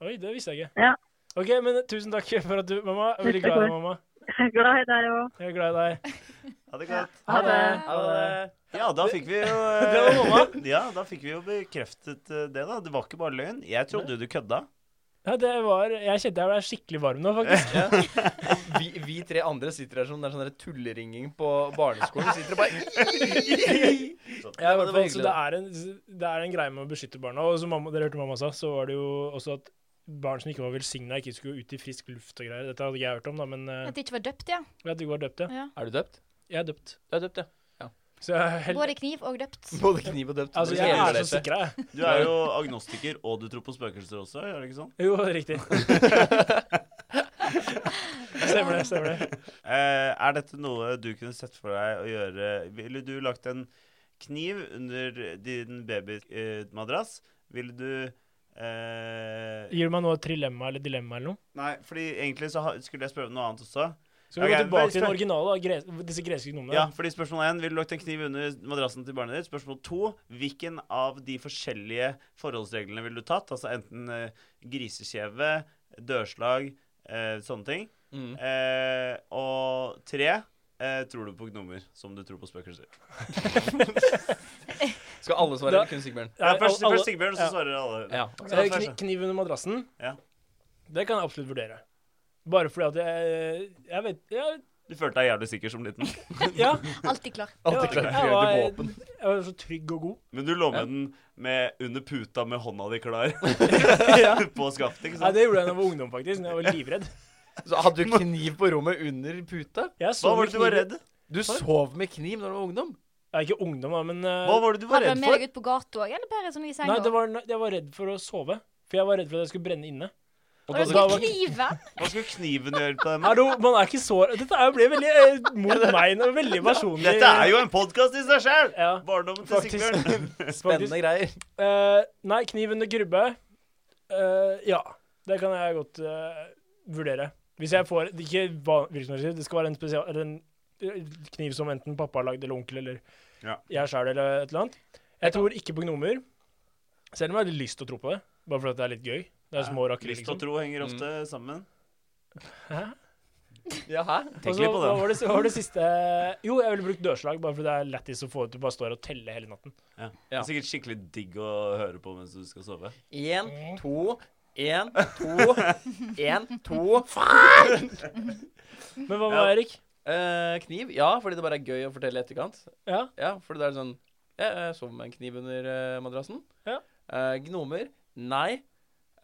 Speaker 3: Oi, det visste jeg ikke.
Speaker 6: Ja.
Speaker 3: OK, men eh, tusen takk for at du Mamma, jeg er veldig
Speaker 6: Vær så
Speaker 3: glad i deg,
Speaker 6: god.
Speaker 3: mamma.
Speaker 6: Glad i deg òg.
Speaker 3: Jeg er glad i deg.
Speaker 1: Ha det godt.
Speaker 5: Ah,
Speaker 6: Ha det.
Speaker 5: Ha det.
Speaker 1: Ja, da fikk vi jo
Speaker 3: Det var mamma.
Speaker 1: Ja, da fikk vi jo bekreftet eh, det, da. Det var ikke bare løgn. Jeg trodde du kødda.
Speaker 3: Ja, det var Jeg kjente jeg ble skikkelig varm nå, faktisk.
Speaker 5: Vi, vi tre andre sitter her som det er sånn der tulleringing på barneskolen. Vi Sitter og bare
Speaker 3: Ja, i
Speaker 5: det
Speaker 3: hvert
Speaker 5: var
Speaker 3: fall, så det er, en, det er en greie med å beskytte barna. Og som mamma, dere hørte mamma sa, så var det jo også at barn som ikke var velsigna, ikke skulle ut i frisk luft og greier. Dette hadde ikke jeg hørt om, da, men eh,
Speaker 2: At de ikke var døpt, ja.
Speaker 3: jeg hadde ikke vært døpt, ja.
Speaker 2: ja.
Speaker 5: Er du døpt?
Speaker 3: Jeg er døpt.
Speaker 5: Du er døpt, ja.
Speaker 3: Så jeg er helt
Speaker 2: Både kniv og døpt.
Speaker 5: Både kniv og døpt.
Speaker 3: Altså,
Speaker 5: Du
Speaker 3: jeg
Speaker 5: heler
Speaker 3: er
Speaker 5: deg
Speaker 3: så sikra, jeg.
Speaker 1: Du er jo agnostiker, og du tror på spøkelser også, er det ikke sånn?
Speaker 3: Jo, riktig. Stemmer det, stemmer det.
Speaker 1: Eh, er dette noe du kunne sett for deg å gjøre? Ville du lagt en kniv under din babymadrass? Ville du eh,
Speaker 3: Gir du meg noe trilemma eller dilemma eller noe?
Speaker 1: Nei, fordi egentlig så ha- skulle jeg spørre om noe annet også.
Speaker 3: Skal vi
Speaker 1: Ok,
Speaker 3: gå tilbake til den
Speaker 1: spør-
Speaker 3: originale, da, gres disse greske gnomene?
Speaker 1: Ja, fordi spørsmål 1, Ville du lagt en kniv under madrassen til barnet ditt? Spørsmål 2, Hvilken av de forskjellige forholdsreglene ville du tatt? Altså enten eh, grisekjeve, dørslag, eh, sånne ting.
Speaker 5: Mm.
Speaker 1: Eh, og 3, eh, tror du på gnomer, som du tror på spøkelser?
Speaker 5: Skal alle
Speaker 3: Da-
Speaker 5: svare, eller kun Sigbjørn?
Speaker 1: Ja,
Speaker 3: Nei,
Speaker 1: først,
Speaker 3: alle-
Speaker 1: først Sigbjørn, så
Speaker 3: ja.
Speaker 1: svarer alle.
Speaker 5: Ja.
Speaker 1: Så
Speaker 3: Eh,
Speaker 1: først,
Speaker 3: kni kniv under madrassen?
Speaker 1: Ja.
Speaker 3: Det kan jeg absolutt vurdere. Bare fordi at jeg Jeg vet jeg,
Speaker 1: Du følte deg jævlig sikker som liten.
Speaker 3: Ja.
Speaker 2: Alltid klar.
Speaker 5: Alltid klart å gjøre det våpen.
Speaker 3: jeg, jeg var så trygg og god.
Speaker 1: Men du lå med den med under puta med hånda di klar
Speaker 3: ja.
Speaker 1: på skaftet, ikke
Speaker 3: Nei,
Speaker 1: sant?
Speaker 3: det gjorde jeg da jeg var ungdom, faktisk. når Jeg var livredd.
Speaker 5: Så hadde du kniv på rommet under puta?
Speaker 3: Jeg
Speaker 1: Hva
Speaker 3: sov
Speaker 1: var
Speaker 3: med
Speaker 1: det du var
Speaker 3: kniv-
Speaker 1: redd?
Speaker 5: Du sov med kniv når du var ungdom?
Speaker 3: Ja, ikke ungdom, da, men eh,
Speaker 1: Hva var det du var
Speaker 2: Hadde du
Speaker 1: redd
Speaker 2: med
Speaker 1: for?
Speaker 2: deg ut på gata òg, eller bare sånn i senga?
Speaker 3: Nei, det var, jeg var redd for å sove. For jeg var redd for at jeg skulle brenne inne.
Speaker 2: Og du
Speaker 3: da
Speaker 2: skulle
Speaker 3: var-
Speaker 2: knive!
Speaker 1: Hva skulle kniven gjøre på den?
Speaker 3: Hallo, man er ikke så Dette er jo ble veldig eh, mot meg nå. Veldig personlig.
Speaker 1: Dette er jo en podkast i seg sjøl!
Speaker 3: ja,
Speaker 1: Barndommen til
Speaker 3: faktisk.
Speaker 1: Sigbjørn.
Speaker 5: Spennende greier.
Speaker 3: Eh, nei, kniv under grubbe. Eh, ja, det kan jeg godt eh, vurdere. Hvis jeg får det er Ikke hva- hvilken som helst, det skal være en, spesial, eller en eh, kniv som enten pappa har lagd, eller onkel, eller
Speaker 1: Ja.
Speaker 3: jeg sjøl, eller et eller annet. Jeg tror ikke på gnomer, selv om jeg hadde lyst til å tro på det. Bare fordi at det er litt gøy. Det er små rakker,
Speaker 1: Lyst og
Speaker 3: liksom.
Speaker 1: tro henger ofte sammen.
Speaker 3: Hæ?
Speaker 5: Ja, hæ?
Speaker 1: Tenk
Speaker 3: Og så-
Speaker 1: litt på
Speaker 3: Altså, hva
Speaker 1: den.
Speaker 3: Var det, hva var det siste Jo, jeg ville brukt dørslag, bare fordi det er lættis å få ut du bare står og teller hele natten.
Speaker 1: Ja. Det er sikkert skikkelig digg å høre på mens du skal sove.
Speaker 5: Én, to, én, to, én, to.
Speaker 3: Men hva med
Speaker 1: Ja.
Speaker 3: deg, Erik?
Speaker 5: Eh, kniv? Ja, fordi det bare er gøy å fortelle i etterkant.
Speaker 3: Ja.
Speaker 5: Ja, fordi det er sånn Jeg, jeg sov med en kniv under eh, madrassen.
Speaker 3: Ja.
Speaker 5: Eh, gnomer? Nei.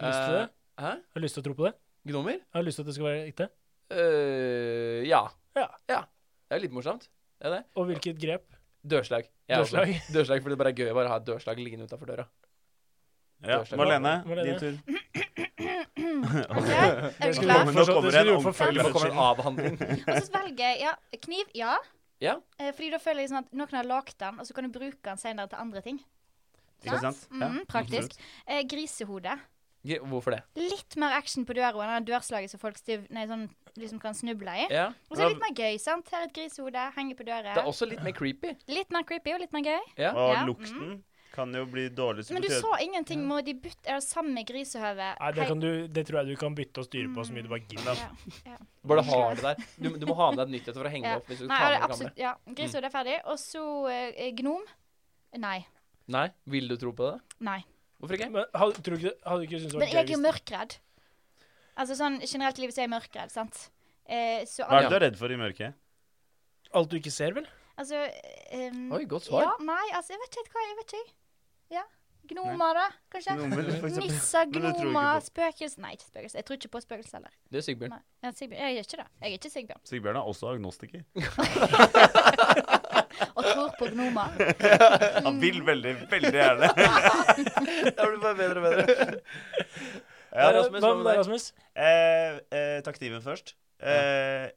Speaker 3: Lyst til det?
Speaker 5: Eh,
Speaker 3: Har
Speaker 5: Hæ?
Speaker 3: du lyst til å tro på det?
Speaker 5: Gnomer?
Speaker 3: Jeg har lyst til at det skal være ekte.
Speaker 5: Eh, ja.
Speaker 3: Ja.
Speaker 5: Det er jo litt morsomt. Det er det.
Speaker 3: Og hvilket grep?
Speaker 5: Dørslag. Jeg også.
Speaker 3: Dørslag.
Speaker 5: Dørslag, fordi det bare er gøy å bare ha et dørslag liggende utafor døra.
Speaker 1: Ja,
Speaker 5: Dørslag.
Speaker 1: Marlene, din
Speaker 3: Marlene.
Speaker 1: tur.
Speaker 2: OK, er du
Speaker 1: Nå
Speaker 2: klar?
Speaker 1: kommer, nå kommer en ordentlig
Speaker 5: Det må komme en
Speaker 1: lønnsskinn.
Speaker 5: avhandling.
Speaker 2: Og så velger jeg ja, kniv. Ja.
Speaker 5: Ja.
Speaker 2: Eh, Fordi da føler jeg sånn at noen har lagd den, og så kan du bruke den senere til andre ting.
Speaker 1: Ikke sant? Ja,
Speaker 2: Mhm, praktisk.
Speaker 1: absolutt.
Speaker 2: Eh, grisehode.
Speaker 5: Ge- Hvorfor det?
Speaker 2: Litt mer action på døra enn det dørslaget som folk stiv, nei, sånn, liksom kan snuble i.
Speaker 5: Ja.
Speaker 2: Og så er det litt mer gøy, sant? Her er et grisehode, henger på
Speaker 5: Det er
Speaker 2: døra.
Speaker 5: også litt mer creepy.
Speaker 2: Litt mer creepy og litt mer gøy.
Speaker 5: Ja.
Speaker 1: Og
Speaker 2: Ja,
Speaker 1: lukten kan jo bli dårlig. så
Speaker 2: Men du
Speaker 1: betyr-
Speaker 2: så ingenting med de bytte Er det samme grisehøve?
Speaker 3: Nei, det, kan du, det tror jeg du kan bytte og styre på så mye du bare
Speaker 2: ja.
Speaker 3: gidder.
Speaker 5: Bare ha det der. Du, du må ha med deg et nytt et for å henge
Speaker 2: Ja.
Speaker 5: det opp. hvis du
Speaker 2: Nei,
Speaker 5: tar
Speaker 2: er det
Speaker 5: med det gamle.
Speaker 2: absolutt Ja. Grisehode er ferdig. Og så eh, gnom. Nei.
Speaker 5: Nei, vil du tro på det?
Speaker 2: Nei.
Speaker 5: Hvorfor ikke?
Speaker 3: Men hadde, tror du ikke, det- hadde du ikke syntes det
Speaker 2: Mm. Men
Speaker 3: var
Speaker 2: jeg
Speaker 3: gøy
Speaker 2: er jo
Speaker 3: hvis
Speaker 2: mørkredd. Altså sånn generelt i livet så er jeg mørkredd, sant. Eh, så
Speaker 1: Hva er
Speaker 2: alle
Speaker 1: det du er redd for i mørket?
Speaker 3: Alt du ikke ser, vel?
Speaker 2: Altså ehm,
Speaker 5: Oi, godt svar.
Speaker 2: Ja, nei, altså, jeg vet ikke helt hva jeg vet ikke. Ja. Gnomer, da, kanskje?
Speaker 1: Gnomer, for eksempel.
Speaker 2: Nisser,
Speaker 1: Men det tror jeg ikke
Speaker 2: gnomer,
Speaker 1: på.
Speaker 2: spøkelser Nei, ikke spøkelser. Jeg tror ikke på spøkelser heller.
Speaker 5: Det er Sigbjørn.
Speaker 2: Nei. Ja, Sigbjørn. Jeg er ikke det. Jeg er ikke Sigbjørn.
Speaker 1: Sigbjørn er også agnostiker.
Speaker 2: Og tror på gnomer.
Speaker 1: Han vil veldig, veldig gjerne.
Speaker 5: Det blir bare bedre og bedre.
Speaker 1: Ja,
Speaker 3: Eh,
Speaker 5: Rasmus,
Speaker 3: hva
Speaker 5: hva med
Speaker 3: med deg,
Speaker 5: deg?
Speaker 3: Rasmus?
Speaker 1: Eh, eh, ta kniven først. Eh,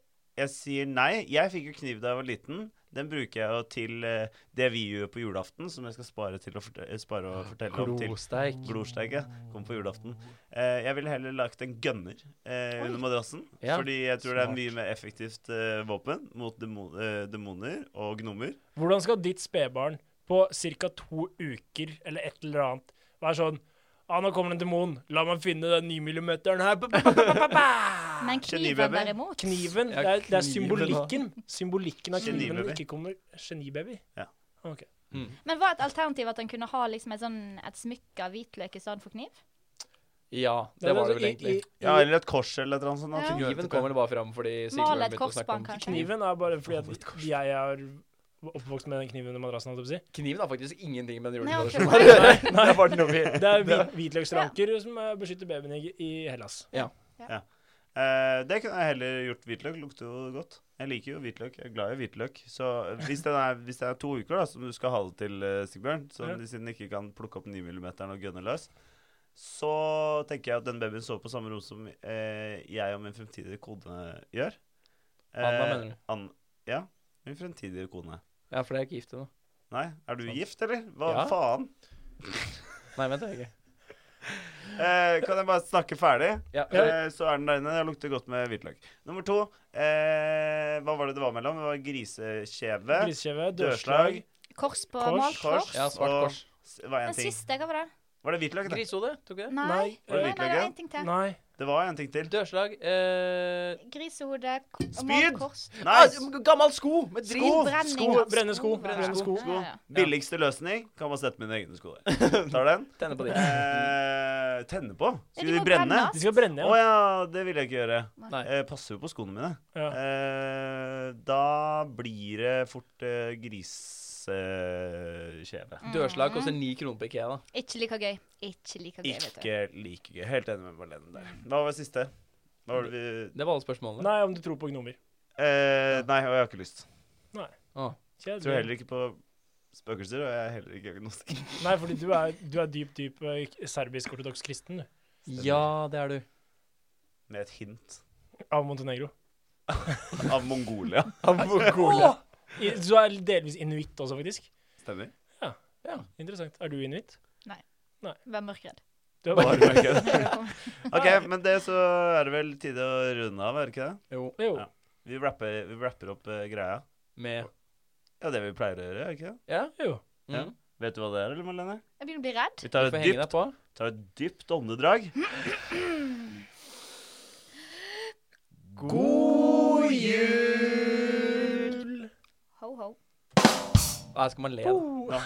Speaker 1: jeg sier nei. Jeg fikk jo kniv da jeg var liten. Den bruker jeg jo til eh, det vi gjør på julaften, som jeg skal spare, til å forte- eh, spare og fortelle om til
Speaker 5: Klosteik.
Speaker 1: Glorsteig, ja. Kommer på julaften. Eh, jeg ville heller lagt en gunner eh, under madrassen.
Speaker 5: Ja,
Speaker 1: Fordi jeg tror det er
Speaker 5: smart.
Speaker 1: mye mer effektivt eh, våpen mot demo eh, demoner og gnomer.
Speaker 3: Hvordan skal ditt spedbarn på ca. to uker eller et eller annet være sånn ah, 'Nå kommer det en demon. La meg finne den 9 millimeteren her.' Ba, ba, ba, ba, ba, ba.
Speaker 2: Men
Speaker 1: Genibaby.
Speaker 2: kniven derimot
Speaker 3: Kniven.
Speaker 5: Ja,
Speaker 3: Det er, det er
Speaker 5: kniven, da.
Speaker 3: symbolikken. Symbolikken av kniven
Speaker 1: Genibaby.
Speaker 3: ikke kommer Genibaby.
Speaker 1: Ja.
Speaker 3: Ah, Ok.
Speaker 2: Men var et alternativ at han kunne ha liksom et, sånn, et smykke av hvitløk i stedet for kniv?
Speaker 5: Ja, det
Speaker 3: altså
Speaker 5: var det vel egentlig.
Speaker 1: Ja, eller et kors eller et eller annet sånt. da.
Speaker 2: Ja.
Speaker 5: altså, Kniven kommer det bare fram fordi Sigbjørn
Speaker 2: Male et
Speaker 5: begynte å snakke
Speaker 2: korsbånd,
Speaker 5: om
Speaker 2: kanskje?
Speaker 3: Kniven er bare fordi at jeg er oppvokst med den kniven under madrassen, holdt jeg på å si.
Speaker 5: Kniven har faktisk ingenting med den
Speaker 2: Nei, ok.
Speaker 5: juletradisjonen å gjøre.
Speaker 1: Det var noe vi...
Speaker 3: Det er hvit, hvitløksranker som eh, beskytter babyen i, i Hellas.
Speaker 1: Eh, det kunne jeg heller gjort. Hvitløk lukter jo godt. Jeg liker jo hvitløk. Jeg er glad i hvitløk. Så hvis det er, hvis det er to uker da, som du skal ha det til, eh, Sigbjørn, så
Speaker 3: Ja.
Speaker 1: de siden de ikke kan plukke opp 9 mm og gønne løs, så tenker jeg at den babyen sover på samme rom som eh, jeg og min fremtidige kone gjør. Eh,
Speaker 5: Anna, mener du?
Speaker 1: An ja. Min fremtidige kone.
Speaker 5: Ja, for det er ikke gift ennå.
Speaker 1: Nei, er du gift, eller? Hva
Speaker 5: Ja.
Speaker 1: faen?
Speaker 5: Nei, vent, det er ikke.
Speaker 1: Eh, kan jeg bare snakke ferdig?
Speaker 5: Ja,
Speaker 1: Eh, så er den der inne. Det lukter godt med hvitløk. Nummer to. Eh, hva var det det var mellom? Det var grisekjeve,
Speaker 3: Grisekjeve,
Speaker 1: dørslag,
Speaker 3: dørslag
Speaker 2: Kors på
Speaker 3: Kors,
Speaker 2: malt
Speaker 1: kors,
Speaker 2: kors?
Speaker 5: ja svart
Speaker 1: og
Speaker 5: kors.
Speaker 1: s- hva er en
Speaker 2: Den
Speaker 1: ting?
Speaker 2: siste, hva var det?
Speaker 1: Var det hvitløk? da?
Speaker 5: Grisehode, tok vi det?
Speaker 2: Nei,
Speaker 3: Nei.
Speaker 2: Nei,
Speaker 1: Var det
Speaker 2: nei, det var
Speaker 1: hvitløk
Speaker 2: en ting til.
Speaker 3: Nei.
Speaker 1: Det var en ting til.
Speaker 5: Dørslag eh,
Speaker 2: Grisehode, k- og
Speaker 1: Spyd!
Speaker 2: malt kors.
Speaker 1: Nei!
Speaker 5: ah, Gammel sko med drit!
Speaker 1: Sko!
Speaker 2: Brenning
Speaker 3: sko,
Speaker 2: av
Speaker 3: brenne sko,
Speaker 2: var det.
Speaker 3: brenne sko.
Speaker 2: Ja, ja, ja.
Speaker 1: Billigste løsning. Kan bare sette mine egne sko der. Tar den.
Speaker 5: Tenne på det.
Speaker 1: Eh, tenne på? Skulle
Speaker 2: de
Speaker 1: de
Speaker 2: må
Speaker 1: brenne?
Speaker 2: brenne.
Speaker 3: De skal brenne,
Speaker 1: Å
Speaker 3: ja.
Speaker 1: ja, det vil jeg ikke gjøre.
Speaker 5: Nei.
Speaker 1: Eh, passer jo på skoene mine.
Speaker 3: ja.
Speaker 1: Eh, da blir det fort eh, grisekjeve.
Speaker 5: Dørslag koster ni kroner på Ikea, da.
Speaker 2: Ikke like gøy. Ikke like gøy, vet du.
Speaker 1: Ikke like gøy. Helt enig med Marlene der. Hva var det siste? Hva var det vi
Speaker 5: Det var alle spørsmålene.
Speaker 3: Nei, om du tror på gnomer.
Speaker 1: eh, Nei, og jeg har ikke lyst.
Speaker 5: Ah.
Speaker 1: Jeg tror
Speaker 3: Kjedelig.
Speaker 1: heller ikke på spøkelser, og jeg er heller ikke agnostisk.
Speaker 3: Nei, fordi du er, du er dyp, dyp eh, serbisk-ortodoks kristen, du.
Speaker 5: Ja, det er du.
Speaker 1: Med et hint
Speaker 3: Av Montenegro.
Speaker 1: av Mongolia.
Speaker 3: I, du er delvis inuitt også, faktisk.
Speaker 1: Stemmer.
Speaker 3: Interessant. Er du inuitt?
Speaker 2: Vær mørkredd.
Speaker 3: Du er
Speaker 1: Bare merke det.
Speaker 2: Velkommen.
Speaker 1: OK, men det så er det vel tide å runde av, er det ikke det?
Speaker 5: Jo.
Speaker 3: Jo.
Speaker 1: Ja. Vi rapper, vi rapper opp eh, greia.
Speaker 5: Med
Speaker 1: Ja, det vi pleier å gjøre, er det ikke det?
Speaker 5: Ja.
Speaker 3: jo.
Speaker 5: Mm.
Speaker 1: Ja. Vet du hva det er, eller, Marlene?
Speaker 2: Jeg begynner å bli redd.
Speaker 1: Vi
Speaker 5: Du
Speaker 1: tar
Speaker 5: får
Speaker 1: et
Speaker 5: henge deg
Speaker 1: dypt,
Speaker 5: på.
Speaker 1: tar et dypt åndedrag. God jul!
Speaker 2: Ho, ho.
Speaker 5: Ah, skal man le, da?